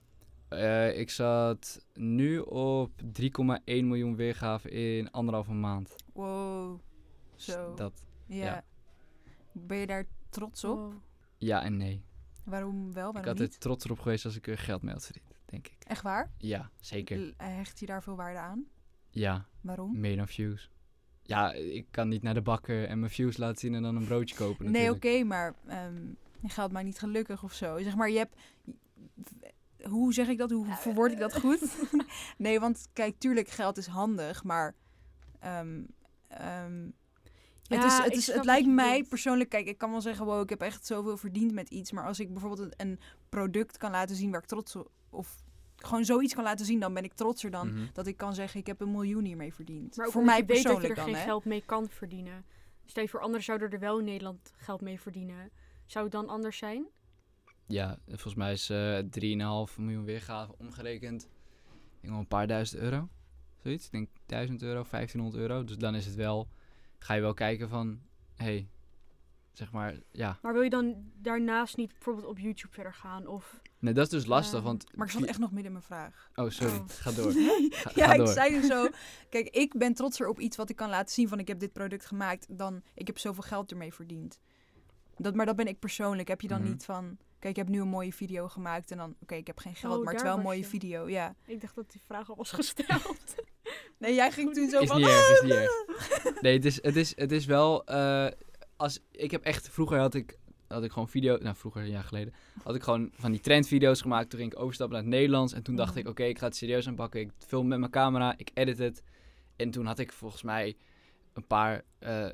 [SPEAKER 3] Eh, ik zat nu op 3,1 miljoen weergaven in anderhalve maand.
[SPEAKER 2] Wow.
[SPEAKER 3] Dus
[SPEAKER 2] Zo.
[SPEAKER 3] Dat,
[SPEAKER 2] Ja.
[SPEAKER 3] Ja.
[SPEAKER 2] Ben je daar trots op?
[SPEAKER 1] Wow.
[SPEAKER 3] ja en nee.
[SPEAKER 2] Waarom wel,
[SPEAKER 3] ik
[SPEAKER 2] waarom
[SPEAKER 3] had
[SPEAKER 2] niet?
[SPEAKER 3] er trots op geweest als ik er geld mee had verdiend, denk ik.
[SPEAKER 2] Echt waar?
[SPEAKER 3] Ja, zeker.
[SPEAKER 2] L- Hecht je daar veel waarde aan?
[SPEAKER 3] Ja,
[SPEAKER 2] Waarom?
[SPEAKER 3] meer dan views. Ja, ik kan niet naar de bakker en mijn views laten zien en dan een broodje kopen
[SPEAKER 2] nee, oké,
[SPEAKER 3] natuurlijk.
[SPEAKER 2] maar ehm, je geld maakt niet gelukkig of zo. Zeg maar, je hebt... Hoe zeg ik dat? Hoe verwoord ik dat
[SPEAKER 1] eh,
[SPEAKER 2] goed? nee, want kijk, tuurlijk, geld is handig, maar... ehm, ehm,
[SPEAKER 1] Ja,
[SPEAKER 2] het, is,
[SPEAKER 1] ik
[SPEAKER 2] het, is,
[SPEAKER 1] snap
[SPEAKER 2] het
[SPEAKER 1] wat
[SPEAKER 2] lijkt
[SPEAKER 1] je
[SPEAKER 2] mij
[SPEAKER 1] bedoelt.
[SPEAKER 2] persoonlijk, kijk, ik kan wel zeggen, wow, ik heb echt zoveel verdiend met iets. Maar als ik bijvoorbeeld een, een product kan laten zien waar ik trots op... Of gewoon zoiets kan laten zien, dan ben ik trotser dan
[SPEAKER 3] Mhm.
[SPEAKER 2] dat ik kan zeggen, ik heb een miljoen hiermee verdiend.
[SPEAKER 1] Maar ook
[SPEAKER 2] voor
[SPEAKER 1] omdat
[SPEAKER 2] mij
[SPEAKER 1] je weet dat je
[SPEAKER 2] persoonlijk
[SPEAKER 1] er
[SPEAKER 2] dan,
[SPEAKER 1] geen
[SPEAKER 2] hè.
[SPEAKER 1] geld mee kan verdienen. Stel je voor, anderen zouden er wel in Nederland geld mee verdienen. Zou het dan anders zijn?
[SPEAKER 3] Ja, volgens mij is eh 3,5 miljoen weergaven omgerekend. Ik denk wel een paar duizend euro. Zoiets. Ik denk 1000 euro, 1500 euro. Dus dan is het wel, ga je wel kijken van, hé, hey, zeg maar, ja.
[SPEAKER 1] Maar wil je dan daarnaast niet bijvoorbeeld op YouTube verder gaan? Of
[SPEAKER 3] Nee, dat is dus lastig,
[SPEAKER 1] Ja.
[SPEAKER 3] want...
[SPEAKER 4] Maar ik stond echt nog midden in mijn vraag.
[SPEAKER 3] Oh, sorry.
[SPEAKER 1] Oh.
[SPEAKER 3] Ga door.
[SPEAKER 4] Nee,
[SPEAKER 3] Ga-
[SPEAKER 4] ja,
[SPEAKER 3] ga
[SPEAKER 4] ik
[SPEAKER 3] door.
[SPEAKER 4] zei dus zo. Kijk, ik ben trotser op iets wat ik kan laten zien van ik heb dit product gemaakt dan ik heb zoveel geld ermee verdiend. Dat, maar dat ben ik persoonlijk. Heb je dan
[SPEAKER 3] Mhm.
[SPEAKER 4] niet van, kijk, ik heb nu een mooie video gemaakt en dan, oké, ik heb geen geld,
[SPEAKER 1] Oh,
[SPEAKER 4] maar het is
[SPEAKER 1] daar
[SPEAKER 4] wel een
[SPEAKER 1] was
[SPEAKER 4] mooie
[SPEAKER 1] je.
[SPEAKER 4] video. Ja.
[SPEAKER 1] ik dacht dat die vraag al was gesteld.
[SPEAKER 4] Nee, jij ging toen zo
[SPEAKER 3] Is
[SPEAKER 4] van. "Ah,
[SPEAKER 3] niet erg, is niet erg. Nee, het is, het is, het is wel... eh, als, ik heb echt... Vroeger had ik, had ik gewoon video... Nou, vroeger, een jaar geleden. Had ik gewoon van die trendvideo's gemaakt. Toen ging ik overstappen naar het Nederlands. En toen dacht
[SPEAKER 4] Mhm.
[SPEAKER 3] ik, oké, ik ga het serieus aanpakken. Ik film met mijn camera. Ik edit het. En toen had ik volgens mij een paar eh, eh,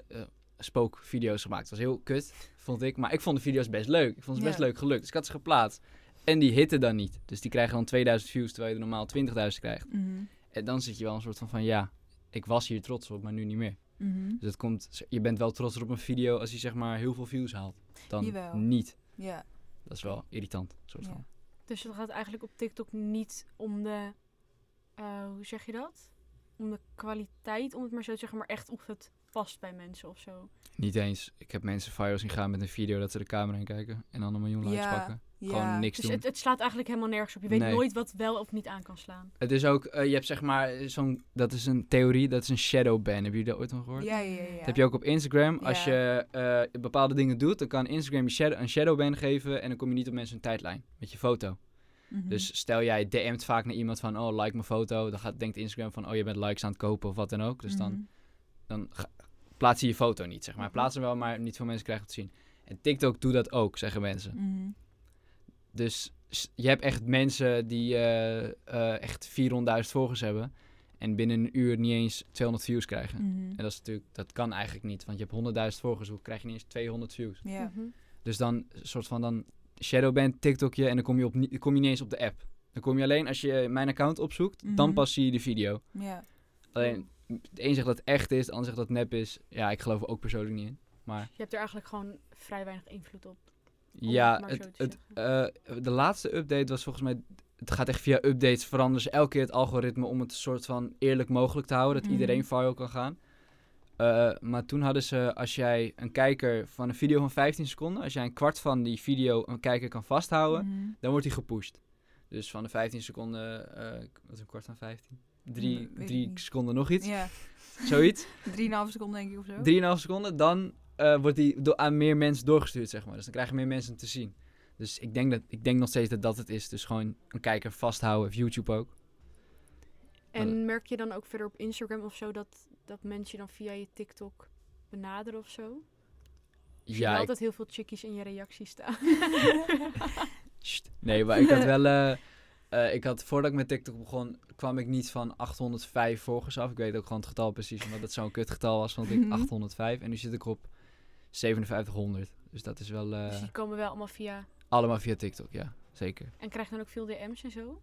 [SPEAKER 3] spookvideo's gemaakt. Het was heel kut, vond ik. Maar ik vond de video's best leuk. Ik vond ze best
[SPEAKER 4] Ja.
[SPEAKER 3] leuk gelukt. Dus ik had ze geplaatst. En die hitten dan niet. Dus die krijgen dan 2000 views, terwijl je er normaal 20.000 krijgt.
[SPEAKER 4] Mhm,
[SPEAKER 3] En dan zit je wel een soort van van ja, ik was hier trots op, maar nu niet meer.
[SPEAKER 4] mhm.
[SPEAKER 3] Dus dat komt, je bent wel trots op een video als hij zeg maar heel veel views haalt. Dan
[SPEAKER 4] Jawel.
[SPEAKER 3] niet.
[SPEAKER 4] Ja.
[SPEAKER 3] Dat is wel irritant, soort
[SPEAKER 4] Ja.
[SPEAKER 3] van.
[SPEAKER 1] dus het gaat eigenlijk op TikTok niet om de, eh, hoe zeg je dat? Om de kwaliteit, om het maar zo te zeggen, maar echt of het past bij mensen of zo.
[SPEAKER 3] Niet eens, ik heb mensen virals zien gaan met een video dat ze de camera in kijken en dan een miljoen likes
[SPEAKER 4] Ja.
[SPEAKER 3] pakken.
[SPEAKER 4] Ja.
[SPEAKER 3] Gewoon niks
[SPEAKER 1] Dus
[SPEAKER 3] doen.
[SPEAKER 1] het, het slaat eigenlijk helemaal nergens op. Je weet
[SPEAKER 3] Nee.
[SPEAKER 1] nooit wat wel of niet aan kan slaan.
[SPEAKER 3] Het is ook, eh, je hebt zeg maar zo'n, dat is een theorie, dat is een shadow ban. Hebben jullie dat ooit van gehoord?
[SPEAKER 4] Ja, ja, ja. ja.
[SPEAKER 3] Dat heb je ook op Instagram. Als
[SPEAKER 4] Ja.
[SPEAKER 3] je eh, bepaalde dingen doet, dan kan Instagram je shadow, een shadowban geven en dan kom je niet op mensen een tijdlijn met je foto.
[SPEAKER 4] Mhm.
[SPEAKER 3] Dus stel jij DM't vaak naar iemand van, oh, like mijn foto. Dan gaat, denkt Instagram van, oh, je bent likes aan het kopen of wat dan ook. Dus dan,
[SPEAKER 4] Mhm.
[SPEAKER 3] dan ga- plaats je je foto niet, zeg maar.
[SPEAKER 4] Mhm.
[SPEAKER 3] Plaats hem wel, maar niet veel mensen krijgen het te zien. En TikTok doet dat ook, zeggen mensen.
[SPEAKER 4] Mhm.
[SPEAKER 3] Dus s- je hebt echt mensen die eh, eh, echt 400.000 volgers hebben. En binnen een uur niet eens 200 views krijgen.
[SPEAKER 4] Mhm.
[SPEAKER 3] En dat is natuurlijk, dat kan eigenlijk niet. Want je hebt 100.000 volgers, hoe krijg je niet eens 200 views?
[SPEAKER 4] Ja.
[SPEAKER 1] Mhm.
[SPEAKER 3] Dus dan een soort van dan shadowban TikTokje en dan kom je, op, ni- dan kom je niet eens op de app. Dan kom je alleen als je mijn account opzoekt, dan
[SPEAKER 4] Mhm.
[SPEAKER 3] pas zie je de video.
[SPEAKER 4] Ja.
[SPEAKER 3] Alleen de een zegt dat het echt is, de ander zegt dat het nep is. Ja, ik geloof er ook persoonlijk niet in. Maar
[SPEAKER 1] Je hebt er eigenlijk gewoon vrij weinig invloed op.
[SPEAKER 4] Oh,
[SPEAKER 1] Om
[SPEAKER 3] ja,
[SPEAKER 1] het maar
[SPEAKER 3] het,
[SPEAKER 1] zo te
[SPEAKER 3] het, eh, de laatste update was volgens mij. Het gaat echt via updates veranderen. ze elke keer het algoritme om het soort van eerlijk mogelijk te houden. Dat
[SPEAKER 4] Mhm.
[SPEAKER 3] iedereen viral kan gaan. Eh, maar toen hadden ze, als jij een kijker van een video van 15 seconden, als jij een kwart van die video een kijker kan vasthouden,
[SPEAKER 4] Mhm.
[SPEAKER 3] dan wordt hij gepusht. Dus van de 15 seconden, eh, wat is een kwart van 15? Drie,
[SPEAKER 4] Hmm, weet ik
[SPEAKER 3] drie
[SPEAKER 4] niet.
[SPEAKER 3] seconden nog iets,
[SPEAKER 4] Ja.
[SPEAKER 3] zoiets.
[SPEAKER 4] 3,5 seconden denk ik of zo.
[SPEAKER 3] 3,5 seconden, dan eh, wordt die do- aan meer mensen doorgestuurd, zeg maar. Dus dan krijgen meer mensen het te zien. Dus ik denk, dat, ik denk nog steeds dat dat het is. Dus gewoon een kijker vasthouden, of YouTube ook.
[SPEAKER 1] En merk je dan ook verder op Instagram of zo dat, dat mensen je dan via je TikTok benaderen of zo? Je hebt
[SPEAKER 3] Ja, ik,
[SPEAKER 1] altijd heel veel chickies in je reacties staan.
[SPEAKER 3] sst. nee, maar ik had wel... eh, eh, ik had, voordat ik met TikTok begon, kwam ik niet van 805 volgers af. Ik weet ook gewoon het getal precies, omdat het zo'n kutgetal was, vond ik
[SPEAKER 4] Mhm.
[SPEAKER 3] 805. En nu zit ik op 5700. Dus dat is wel... eh,
[SPEAKER 1] Dus die komen wel allemaal via.
[SPEAKER 3] Allemaal via TikTok, ja. Zeker.
[SPEAKER 1] En krijg je dan ook veel DM's en zo?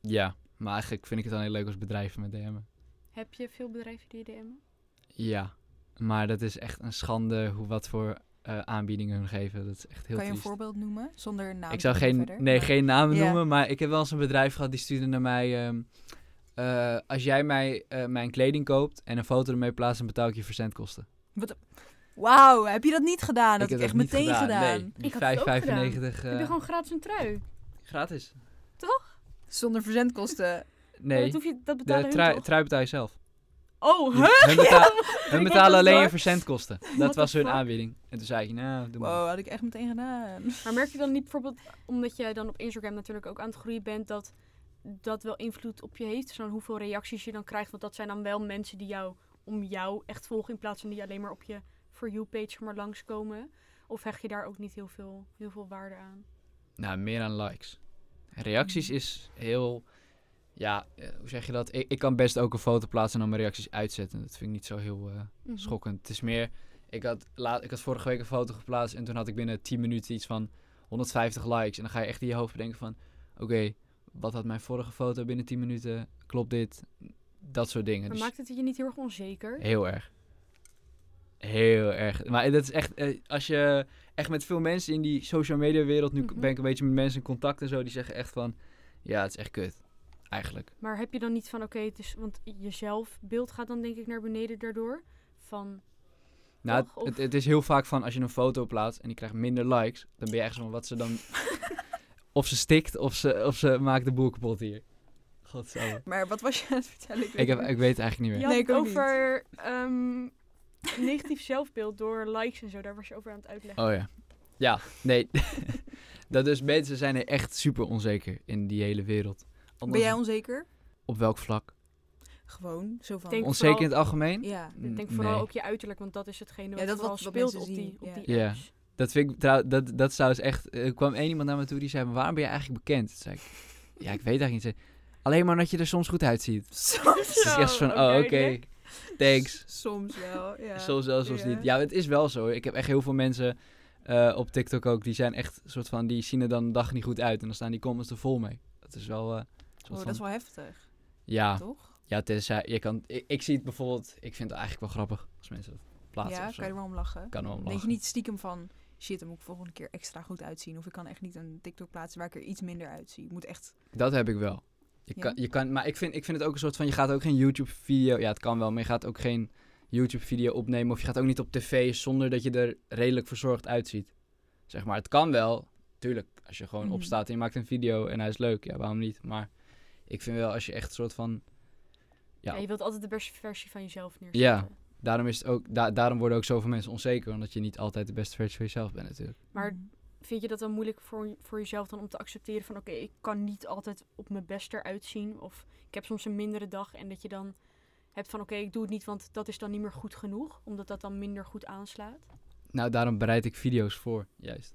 [SPEAKER 3] Ja, maar eigenlijk vind ik het dan heel leuk als bedrijven met DM'en.
[SPEAKER 1] Heb je veel bedrijven die je DM'en?
[SPEAKER 3] Ja, maar dat is echt een schande hoe wat voor eh, aanbiedingen hun geven. Dat is echt heel
[SPEAKER 4] kan je een
[SPEAKER 3] triest.
[SPEAKER 4] voorbeeld noemen? Zonder naam.
[SPEAKER 3] ik zou geen, nee, geen namen
[SPEAKER 4] Ja.
[SPEAKER 3] noemen, maar ik heb wel eens een bedrijf gehad die stuurde naar mij... ehm, eh, als jij mij eh, mijn kleding koopt en een foto ermee plaatst, dan betaal ik je verzendkosten.
[SPEAKER 4] Wauw, heb je dat niet gedaan? Ah, Dat
[SPEAKER 3] heb
[SPEAKER 4] heb ik echt
[SPEAKER 3] niet
[SPEAKER 4] meteen gedaan.
[SPEAKER 3] Nee, die
[SPEAKER 1] Ik had het ook gedaan.
[SPEAKER 3] 5,95 eh,
[SPEAKER 1] Heb je gewoon gratis een trui?
[SPEAKER 3] gratis.
[SPEAKER 4] Zonder verzendkosten.
[SPEAKER 1] Maar
[SPEAKER 3] Nee,
[SPEAKER 1] Oh, Dat, hoef je, dat
[SPEAKER 3] de
[SPEAKER 1] betalen hun
[SPEAKER 3] trui,
[SPEAKER 1] toch?
[SPEAKER 3] trui betaal je zelf.
[SPEAKER 1] Oh,
[SPEAKER 3] Hun,
[SPEAKER 1] huh?
[SPEAKER 3] hun betaal- hun
[SPEAKER 1] Ik had
[SPEAKER 3] betalen
[SPEAKER 1] dat
[SPEAKER 3] alleen
[SPEAKER 1] door.
[SPEAKER 3] je verzendkosten.
[SPEAKER 1] What
[SPEAKER 3] Dat
[SPEAKER 1] the
[SPEAKER 3] was hun
[SPEAKER 1] fuck?
[SPEAKER 3] aanbieding. En toen zei ik, nou, doe maar.
[SPEAKER 4] Wow, had ik echt meteen gedaan.
[SPEAKER 1] Maar merk je dan niet bijvoorbeeld, omdat jij dan op Instagram natuurlijk ook aan het groeien bent, dat dat wel invloed op je heeft? Dus dan hoeveel reacties je dan krijgt, want dat zijn dan wel mensen die jou om jou echt volgen in plaats van die alleen maar op je For You-page zeg maar langskomen. Of hecht je daar ook niet heel veel, heel veel waarde aan?
[SPEAKER 3] Nou, meer aan likes. Reacties
[SPEAKER 1] Mm.
[SPEAKER 3] is heel... Ja, eh, hoe zeg je dat? Ik, ik kan best ook een foto plaatsen en dan mijn reacties uitzetten. Dat vind ik niet zo heel eh,
[SPEAKER 1] Mhm.
[SPEAKER 3] schokkend. Het is meer... Ik had, laat, ik had vorige week een foto geplaatst en toen had ik binnen 10 minuten iets van 150 likes. En dan ga je echt in je hoofd bedenken van... Oké, wat had mijn vorige foto binnen 10 minuten? Klopt dit? Dat soort dingen.
[SPEAKER 1] Maar
[SPEAKER 3] Dus-
[SPEAKER 1] maakt het je niet heel erg onzeker?
[SPEAKER 3] Heel erg. Heel erg. Maar dat is echt, eh, als je echt met veel mensen in die social media wereld, nu
[SPEAKER 1] Mhm.
[SPEAKER 3] ben ik een beetje met mensen in contact en zo, die zeggen echt van, ja, het is echt kut. eigenlijk.
[SPEAKER 1] Maar heb je dan niet van, oké, het is, want je zelfbeeld gaat dan denk ik naar beneden daardoor. Van,
[SPEAKER 3] Nou,
[SPEAKER 1] Toch?
[SPEAKER 3] het,
[SPEAKER 1] Of-
[SPEAKER 3] het, het is heel vaak van als je een foto plaatst en die krijgt minder likes, dan ben je echt zo van wat ze dan. of ze stikt of ze, of ze maakt de boel kapot hier. Godzijdank.
[SPEAKER 4] Maar wat was je aan het vertellen? weet
[SPEAKER 3] Ik, heb,
[SPEAKER 4] het
[SPEAKER 3] ik weet het eigenlijk niet meer.
[SPEAKER 1] je
[SPEAKER 4] Ja. Nee,
[SPEAKER 1] had het
[SPEAKER 4] ik ook niet.
[SPEAKER 1] over ehm, negatief zelfbeeld door likes en zo. Daar was je over aan het uitleggen.
[SPEAKER 3] Oh ja. Ja, nee. dat dus mensen zijn er echt super onzeker in die hele wereld.
[SPEAKER 4] niet.
[SPEAKER 3] Anders-
[SPEAKER 4] Ben jij onzeker?
[SPEAKER 3] Op welk vlak?
[SPEAKER 4] Gewoon, zo van.
[SPEAKER 1] Denk-
[SPEAKER 3] Onzeker
[SPEAKER 1] vooral-
[SPEAKER 3] in het algemeen?
[SPEAKER 4] ja.
[SPEAKER 1] Ik denk
[SPEAKER 3] Mm,
[SPEAKER 1] vooral
[SPEAKER 3] nee.
[SPEAKER 1] ook je uiterlijk, want dat is hetgene wat
[SPEAKER 4] Ja, dat
[SPEAKER 1] vooral
[SPEAKER 4] wat- wat
[SPEAKER 1] speelt op
[SPEAKER 4] mensen
[SPEAKER 1] die,
[SPEAKER 4] zien,
[SPEAKER 1] op
[SPEAKER 4] ja.
[SPEAKER 1] die
[SPEAKER 3] Ja.
[SPEAKER 1] apps.
[SPEAKER 3] Dat vind ik trouw, dat, dat zou eens echt. Er kwam één iemand naar me toe die zei: "Maar Waarom ben je eigenlijk bekend? Toen zei ik: Ja, ik weet eigenlijk niet. Zei, Alleen maar dat je er soms goed uitziet.
[SPEAKER 4] Soms
[SPEAKER 3] Dus het is echt zo van:
[SPEAKER 1] Zo,
[SPEAKER 3] Oh, oké.
[SPEAKER 1] duidelijk.
[SPEAKER 3] Thanks.
[SPEAKER 4] Soms wel, ja.
[SPEAKER 3] Soms wel, soms
[SPEAKER 4] Ja.
[SPEAKER 3] niet. Ja, het is wel zo. Ik heb echt heel veel mensen eh, op TikTok ook. Die zijn echt soort van. Die zien er dan een dag niet goed uit. En dan staan die comments er vol mee. Dat is wel. eh, soort
[SPEAKER 4] Oh, dat
[SPEAKER 3] van- Ah,
[SPEAKER 4] is wel heftig,
[SPEAKER 3] ja,
[SPEAKER 4] toch?
[SPEAKER 3] ja, tenzij je kan. Ik, ik zie het bijvoorbeeld. Ik vind het eigenlijk wel grappig als mensen dat plaatsen.
[SPEAKER 4] ja,
[SPEAKER 3] of zo.
[SPEAKER 4] kan je er wel om lachen.
[SPEAKER 3] Kan wel om
[SPEAKER 4] Denk je
[SPEAKER 3] lachen.
[SPEAKER 4] niet stiekem van, shit, dan moet ik volgende keer extra goed uitzien. Of ik kan echt niet een TikTok plaatsen waar ik er iets minder uitzie. Ik moet echt...
[SPEAKER 3] Dat heb ik wel. Je
[SPEAKER 4] Ja?
[SPEAKER 3] kan, je kan, maar ik vind, ik vind het ook een soort van, je gaat ook geen YouTube-video, ja het kan wel, maar je gaat ook geen YouTube-video opnemen of je gaat ook niet op tv zonder dat je er redelijk verzorgd uitziet. Zeg maar, het kan wel, tuurlijk, als je gewoon
[SPEAKER 4] Mhm.
[SPEAKER 3] opstaat en je maakt een video en hij is leuk, ja waarom niet? Maar ik vind wel, als je echt een soort van, Ja.
[SPEAKER 1] Ja. je wilt altijd de beste versie van jezelf neerzetten.
[SPEAKER 3] Ja. daarom, is het ook, da- daarom worden ook zoveel mensen onzeker, omdat je niet altijd de beste versie van jezelf bent natuurlijk.
[SPEAKER 1] Maar
[SPEAKER 4] Mm.
[SPEAKER 1] vind je dat dan moeilijk voor, voor jezelf dan om te accepteren van... Oké, ik kan niet altijd op mijn best eruit zien. Of ik heb soms een mindere dag en dat je dan hebt van... Oké, ik doe het niet, want dat is dan niet meer goed genoeg. Omdat dat dan minder goed aanslaat.
[SPEAKER 3] Nou, daarom bereid ik video's voor, juist.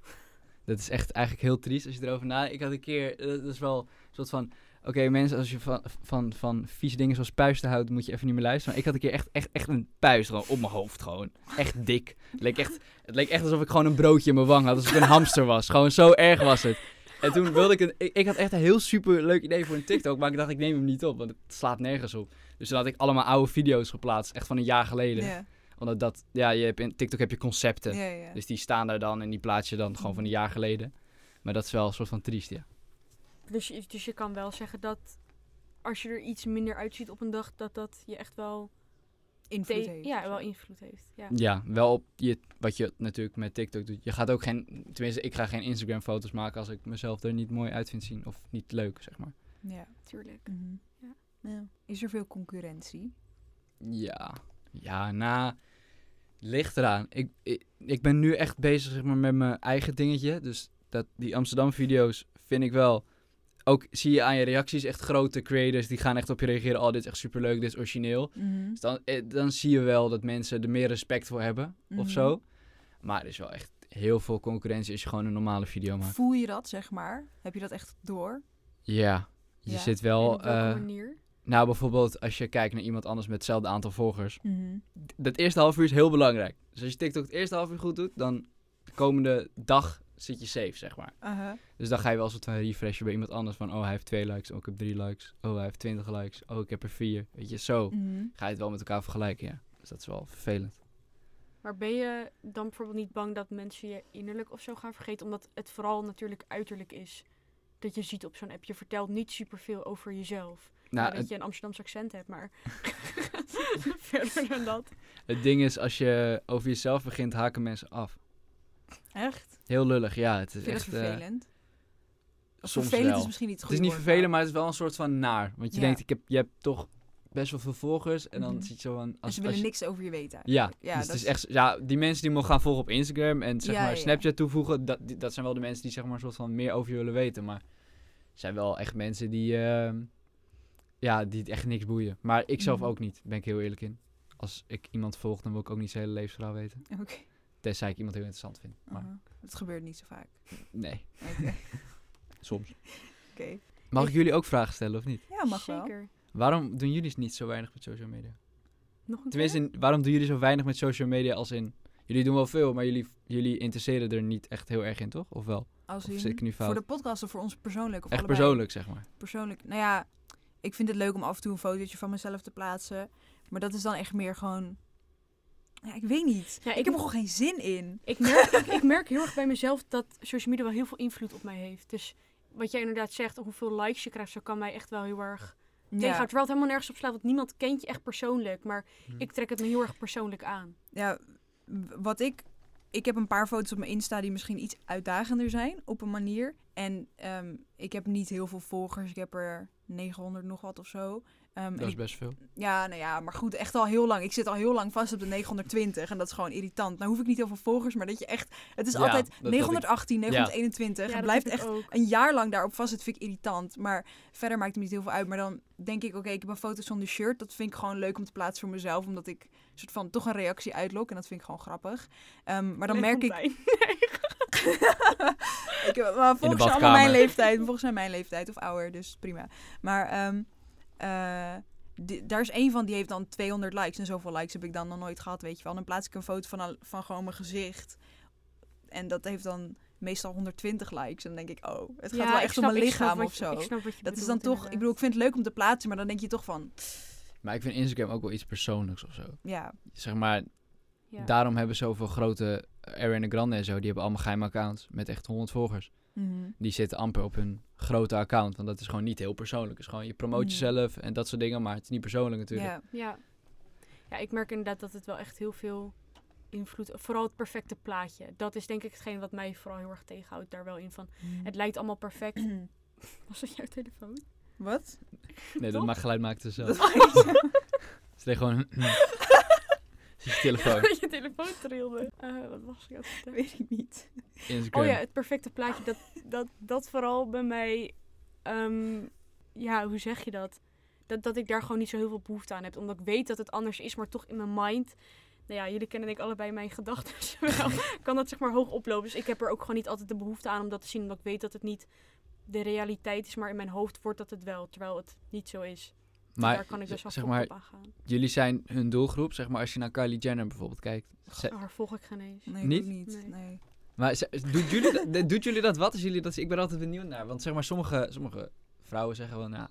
[SPEAKER 3] Dat is echt eigenlijk heel triest als je erover nadenkt. Ik had een keer, eh, dat is wel een soort van... Oké, mensen, als je van, van, van vieze dingen zoals puisten houdt, moet je even niet meer luisteren. Maar ik had een keer echt, echt, echt een puist gewoon op mijn hoofd, gewoon. Echt dik. Het leek echt, het leek echt alsof ik gewoon een broodje in mijn wang had, alsof ik een hamster was. Gewoon zo erg was het. En toen wilde ik een... Ik, ik had echt een heel super leuk idee voor een TikTok, maar ik dacht, ik neem hem niet op, want het slaat nergens op. Dus toen had ik allemaal oude video's geplaatst, echt van een jaar geleden.
[SPEAKER 4] Ja,
[SPEAKER 3] Omdat dat... Ja, je hebt in TikTok heb je concepten.
[SPEAKER 4] ja, ja.
[SPEAKER 3] Dus die staan daar dan en die plaats je dan gewoon van een jaar geleden. Maar dat is wel een soort van triest, ja.
[SPEAKER 1] Dus, je- dus je kan wel zeggen dat als je er iets minder uitziet op een dag... Dat dat je echt wel...
[SPEAKER 4] Invloed
[SPEAKER 1] te-
[SPEAKER 4] heeft of
[SPEAKER 1] ja,
[SPEAKER 4] zo.
[SPEAKER 1] wel invloed heeft. Ja.
[SPEAKER 3] Ja, wel op je, wat je natuurlijk met TikTok doet. Je gaat ook geen, tenminste ik ga geen Instagram foto's maken als ik mezelf er niet mooi uit vind zien. Of niet leuk, zeg maar.
[SPEAKER 4] Ja.
[SPEAKER 1] Tuurlijk.
[SPEAKER 4] Mhm.
[SPEAKER 1] Ja.
[SPEAKER 4] Ja. Is er veel concurrentie?
[SPEAKER 3] Ja, ja, na, ligt eraan. Ik, ik, ik ben nu echt bezig zeg maar, met mijn eigen dingetje. Dus dat, die Amsterdam video's vind ik wel... Ook zie je aan je reacties echt grote creators die gaan echt op je reageren. Oh, dit is echt superleuk, dit is origineel.
[SPEAKER 1] Mhm.
[SPEAKER 3] Dus dan, eh, dan zie je wel dat mensen er meer respect voor hebben
[SPEAKER 4] Mhm.
[SPEAKER 3] of zo. Maar er is wel echt heel veel concurrentie als je gewoon een normale video maakt.
[SPEAKER 4] Voel je dat, zeg maar? Heb je dat echt door?
[SPEAKER 3] Ja, je
[SPEAKER 4] Ja.
[SPEAKER 3] zit
[SPEAKER 1] En
[SPEAKER 3] wel.
[SPEAKER 1] op welke
[SPEAKER 3] eh,
[SPEAKER 1] manier?
[SPEAKER 3] nou, bijvoorbeeld als je kijkt naar iemand anders met hetzelfde aantal volgers.
[SPEAKER 4] Mhm.
[SPEAKER 3] D- Dat eerste half uur is heel belangrijk. Dus als je TikTok het eerste half uur goed doet, dan de komende dag zit je safe, zeg maar.
[SPEAKER 4] Aha.
[SPEAKER 3] Dus dan ga je wel een soort van refreshen bij iemand anders. Van, oh, hij heeft twee likes, oh, ik heb drie likes. Oh, hij heeft twintig likes, oh, ik heb er vier. Weet je,
[SPEAKER 1] Mm.
[SPEAKER 3] zo
[SPEAKER 4] Mhm.
[SPEAKER 3] ga je het wel met elkaar vergelijken, ja. Dus dat is wel vervelend.
[SPEAKER 1] Maar ben je dan bijvoorbeeld niet bang dat mensen je innerlijk of zo gaan vergeten? Omdat het vooral natuurlijk uiterlijk is. Dat je ziet op zo'n app. Je vertelt niet superveel over jezelf. Ja,
[SPEAKER 3] Nou,
[SPEAKER 1] dat je een Amsterdams accent hebt, maar verder dan dat.
[SPEAKER 3] Het ding is, als je over jezelf begint, haken mensen af.
[SPEAKER 4] Echt?
[SPEAKER 3] Heel lullig, ja. Het is
[SPEAKER 4] Vind je dat
[SPEAKER 3] echt eh,
[SPEAKER 4] vervelend? Of
[SPEAKER 3] soms
[SPEAKER 4] vervelend
[SPEAKER 3] wel.
[SPEAKER 4] is misschien niet het
[SPEAKER 3] het is
[SPEAKER 4] goede woord,
[SPEAKER 3] niet vervelend, maar het is wel een soort van naar. Want je
[SPEAKER 4] Ja.
[SPEAKER 3] denkt, ik heb, je hebt toch best wel veel volgers. En dan
[SPEAKER 4] Mhm.
[SPEAKER 3] zit je zo van...
[SPEAKER 4] En
[SPEAKER 3] Als,
[SPEAKER 4] ze
[SPEAKER 3] als
[SPEAKER 4] willen
[SPEAKER 3] je-
[SPEAKER 4] niks over je weten.
[SPEAKER 3] ja,
[SPEAKER 4] Ja, dat
[SPEAKER 3] dus het is
[SPEAKER 4] is-
[SPEAKER 3] echt, ja, die mensen die me gaan volgen op Instagram en zeg
[SPEAKER 4] Ja, ja,
[SPEAKER 3] maar
[SPEAKER 4] ja.
[SPEAKER 3] Snapchat toevoegen, dat, die- dat zijn wel de mensen die zeg maar een soort van meer over je willen weten. Maar het zijn wel echt mensen die, eh, ja, die het echt niks boeien. Maar ik zelf
[SPEAKER 4] Mhm.
[SPEAKER 3] ook niet, ben ik heel eerlijk in. Als ik iemand volg, dan wil ik ook niet zijn hele levensverhaal weten.
[SPEAKER 4] Oké.
[SPEAKER 3] Tenzij ik iemand heel interessant vind. Maar
[SPEAKER 4] Aha. Dat gebeurt niet zo vaak.
[SPEAKER 3] nee,
[SPEAKER 4] Oké.
[SPEAKER 3] soms.
[SPEAKER 4] Oké.
[SPEAKER 3] Mag ik jullie ook vragen stellen of niet?
[SPEAKER 4] Ja, mag wel.
[SPEAKER 1] Zeker.
[SPEAKER 3] Waarom doen jullie niet zo weinig met social media?
[SPEAKER 1] Nog een
[SPEAKER 3] Tenminste, in- waarom doen jullie zo weinig met social media als in... Jullie doen wel veel, maar jullie, jullie interesseren er niet echt heel erg in, toch? Of wel?
[SPEAKER 4] Als
[SPEAKER 3] Of
[SPEAKER 4] in-
[SPEAKER 3] zit ik nu
[SPEAKER 4] voor
[SPEAKER 3] fout?
[SPEAKER 4] de podcast of voor ons persoonlijk? Of
[SPEAKER 3] echt
[SPEAKER 4] allebei?
[SPEAKER 3] persoonlijk, zeg maar.
[SPEAKER 4] Persoonlijk. Nou ja, ik vind het leuk om af en toe een fotootje van mezelf te plaatsen. Maar dat is dan echt meer gewoon... Ja, ik weet niet.
[SPEAKER 1] Ja,
[SPEAKER 4] ik,
[SPEAKER 1] ik-
[SPEAKER 4] heb er gewoon geen zin in.
[SPEAKER 1] Ik merk, ik, ik merk heel erg bij mezelf dat social media wel heel veel invloed op mij heeft. Dus wat jij inderdaad zegt, hoeveel likes je krijgt, zo kan mij echt wel heel erg
[SPEAKER 4] Ja.
[SPEAKER 1] tegenhouden. Terwijl het helemaal nergens op slaat, want niemand kent je echt persoonlijk. Maar
[SPEAKER 3] Hm.
[SPEAKER 1] ik trek het me heel erg persoonlijk aan.
[SPEAKER 2] Ja, w- wat ik. Ik heb een paar foto's op mijn Insta die misschien iets uitdagender zijn op een manier. En ehm, ik heb niet heel veel volgers. Ik heb er 900 nog wat of zo. Ehm, en
[SPEAKER 3] Dat is
[SPEAKER 2] ik-
[SPEAKER 3] best veel.
[SPEAKER 2] ja, nou ja, maar goed, echt al heel lang. Ik zit al heel lang vast op de 920 en dat is gewoon irritant. Nou hoef ik niet heel veel volgers, maar dat je echt... Het is
[SPEAKER 3] Ja,
[SPEAKER 2] altijd
[SPEAKER 3] dat had ik.
[SPEAKER 2] 918,
[SPEAKER 3] Ja.
[SPEAKER 2] 921.
[SPEAKER 1] Ja,
[SPEAKER 2] het
[SPEAKER 1] dat
[SPEAKER 2] blijft
[SPEAKER 1] heb ik
[SPEAKER 2] echt
[SPEAKER 1] ook.
[SPEAKER 2] een jaar lang daarop vast. Dat vind ik irritant. Maar verder maakt het me niet heel veel uit. Maar dan denk ik, oké, ik heb een foto zonder shirt. Dat vind ik gewoon leuk om te plaatsen voor mezelf. Omdat ik soort van toch een reactie uitlok. En dat vind ik gewoon grappig. Ehm, maar dan merk ik...
[SPEAKER 1] Leeftijd.
[SPEAKER 2] ik heb- maar volgens mij allemaal
[SPEAKER 3] badkamer.
[SPEAKER 2] mijn leeftijd. Volgens mij mijn leeftijd of ouder. Dus prima. Maar ehm, eh, di- daar is één van die heeft dan 200 likes. En zoveel likes heb ik dan nog nooit gehad, weet je wel. Dan plaats ik een foto van, al- van gewoon mijn gezicht. En dat heeft dan meestal 120 likes. En dan denk ik, oh, het gaat
[SPEAKER 1] Ja,
[SPEAKER 2] wel
[SPEAKER 1] ik
[SPEAKER 2] echt
[SPEAKER 1] snap-
[SPEAKER 2] om mijn
[SPEAKER 1] ik snap
[SPEAKER 2] lichaam
[SPEAKER 1] wat
[SPEAKER 2] of
[SPEAKER 1] je-
[SPEAKER 2] zo.
[SPEAKER 1] ik snap wat je
[SPEAKER 2] Dat is dan
[SPEAKER 1] bedoelt,
[SPEAKER 2] toch, ik
[SPEAKER 1] inderdaad.
[SPEAKER 2] bedoel, ik vind het leuk om te plaatsen, maar dan denk je toch van,
[SPEAKER 3] Maar ik vind Instagram ook wel iets persoonlijks of zo.
[SPEAKER 2] ja,
[SPEAKER 3] Zeg maar,
[SPEAKER 1] Ja.
[SPEAKER 3] daarom hebben zoveel grote eh, Ariana Grande en zo, die hebben allemaal geheime accounts met echt 100 volgers.
[SPEAKER 1] Mhm.
[SPEAKER 3] Die zitten amper op hun grote account, want dat is gewoon niet heel persoonlijk. Het is gewoon, je promoot
[SPEAKER 2] Mm.
[SPEAKER 3] jezelf en dat soort dingen, maar het is niet persoonlijk natuurlijk.
[SPEAKER 2] ja,
[SPEAKER 1] Ja. ja, ik merk inderdaad dat het wel echt heel veel invloed... Vooral het perfecte plaatje. Dat is denk ik hetgeen wat mij vooral heel erg tegenhoudt daar wel in. Van, het lijkt allemaal perfect. Was dat jouw telefoon?
[SPEAKER 2] Wat?
[SPEAKER 3] Nee, dat
[SPEAKER 1] Toch?
[SPEAKER 3] maakt geluid maakt het zelf.
[SPEAKER 2] Dat maakt-
[SPEAKER 3] Ze deed gewoon... je telefoon.
[SPEAKER 1] je telefoon trilde. Eh, wat was ik aan het vertellen?
[SPEAKER 2] weet ik niet.
[SPEAKER 3] Instagram.
[SPEAKER 1] Oh ja, het perfecte plaatje. Dat, dat, dat vooral bij mij. ehm, ja, hoe zeg je dat? dat? Dat ik daar gewoon niet zo heel veel behoefte aan heb. Omdat ik weet dat het anders is, maar toch in mijn mind. Nou ja, jullie kennen denk ik allebei mijn gedachten. wel. kan dat zeg maar hoog oplopen. Dus ik heb er ook gewoon niet altijd de behoefte aan om dat te zien. Omdat ik weet dat het niet de realiteit is, maar in mijn hoofd wordt dat het wel. Terwijl het niet zo is.
[SPEAKER 3] maar
[SPEAKER 1] daar kan ik dus wel
[SPEAKER 3] zeg
[SPEAKER 1] goed
[SPEAKER 3] maar,
[SPEAKER 1] op aangaan.
[SPEAKER 3] jullie zijn hun doelgroep. Zeg maar, als je naar Kylie Jenner bijvoorbeeld kijkt. Ze-
[SPEAKER 1] Oh, Daar volg ik geen eens.
[SPEAKER 2] Nee,
[SPEAKER 3] Niet?
[SPEAKER 2] ik ook niet.
[SPEAKER 1] Nee.
[SPEAKER 2] Nee.
[SPEAKER 3] maar ze- doet, jullie dat, de- doet jullie dat wat? Is jullie dat, ik ben altijd benieuwd naar. Want zeg maar, sommige, sommige vrouwen zeggen wel, nou,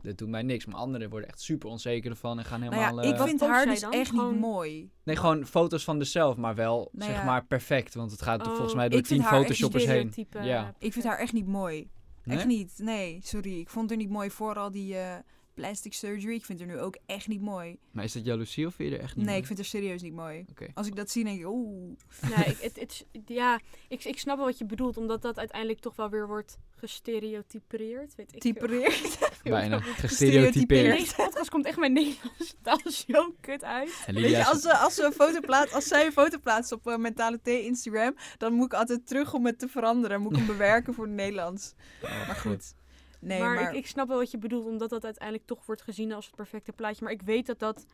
[SPEAKER 3] dit doet mij niks. Maar anderen worden echt super onzeker ervan en gaan
[SPEAKER 2] Nou
[SPEAKER 3] helemaal...
[SPEAKER 2] ja, ik
[SPEAKER 3] eh,
[SPEAKER 2] vind
[SPEAKER 1] Wat
[SPEAKER 2] haar
[SPEAKER 1] post
[SPEAKER 2] dus
[SPEAKER 1] jij dan?
[SPEAKER 2] echt
[SPEAKER 1] Gewoon-
[SPEAKER 2] niet mooi.
[SPEAKER 3] Nee, gewoon foto's van zichzelf, maar wel,
[SPEAKER 2] Nou
[SPEAKER 3] zeg
[SPEAKER 2] ja.
[SPEAKER 3] maar, perfect. Want het gaat
[SPEAKER 1] Oh,
[SPEAKER 3] volgens mij door
[SPEAKER 2] ik vind
[SPEAKER 3] tien
[SPEAKER 2] haar echt
[SPEAKER 3] photoshoppers heen.
[SPEAKER 1] Stereotype,
[SPEAKER 3] Ja.
[SPEAKER 1] eh,
[SPEAKER 2] Ik vind haar echt niet mooi.
[SPEAKER 3] Nee?
[SPEAKER 2] Echt niet. Nee, sorry. Ik vond haar niet mooi voor al die eh, plastic surgery. Ik vind haar nu ook echt niet mooi.
[SPEAKER 3] Maar is dat jaloezie of vind je er echt niet
[SPEAKER 2] Nee,
[SPEAKER 3] mee?
[SPEAKER 2] ik vind haar serieus niet mooi.
[SPEAKER 3] Mhm. Oké.
[SPEAKER 2] Als ik dat zie, denk ik, oeh.
[SPEAKER 1] Nee, ik, het, het, is- ja, ik, ik snap wel wat je bedoelt, omdat dat uiteindelijk toch wel weer wordt gestereotypeerd. Weet ik veel.
[SPEAKER 2] Typereerd.
[SPEAKER 3] Bijna
[SPEAKER 1] In
[SPEAKER 3] gestereotypeerd.
[SPEAKER 1] deze podcast komt echt mijn Nederlandse taal zo kut uit.
[SPEAKER 3] En
[SPEAKER 2] Weet
[SPEAKER 3] Lydia
[SPEAKER 2] je,
[SPEAKER 3] is-
[SPEAKER 2] als, ze, als, ze een foto plaatst, als zij een foto plaatst op eh, Mentale Thee Instagram, dan moet ik altijd terug om het te veranderen. Moet ik hem bewerken voor het Nederlands.
[SPEAKER 3] Oh,
[SPEAKER 2] Maar goed. Nee,
[SPEAKER 1] maar
[SPEAKER 2] maar...
[SPEAKER 1] Ik, ik snap wel wat je bedoelt, omdat dat uiteindelijk toch wordt gezien als het perfecte plaatje. Maar ik weet dat dat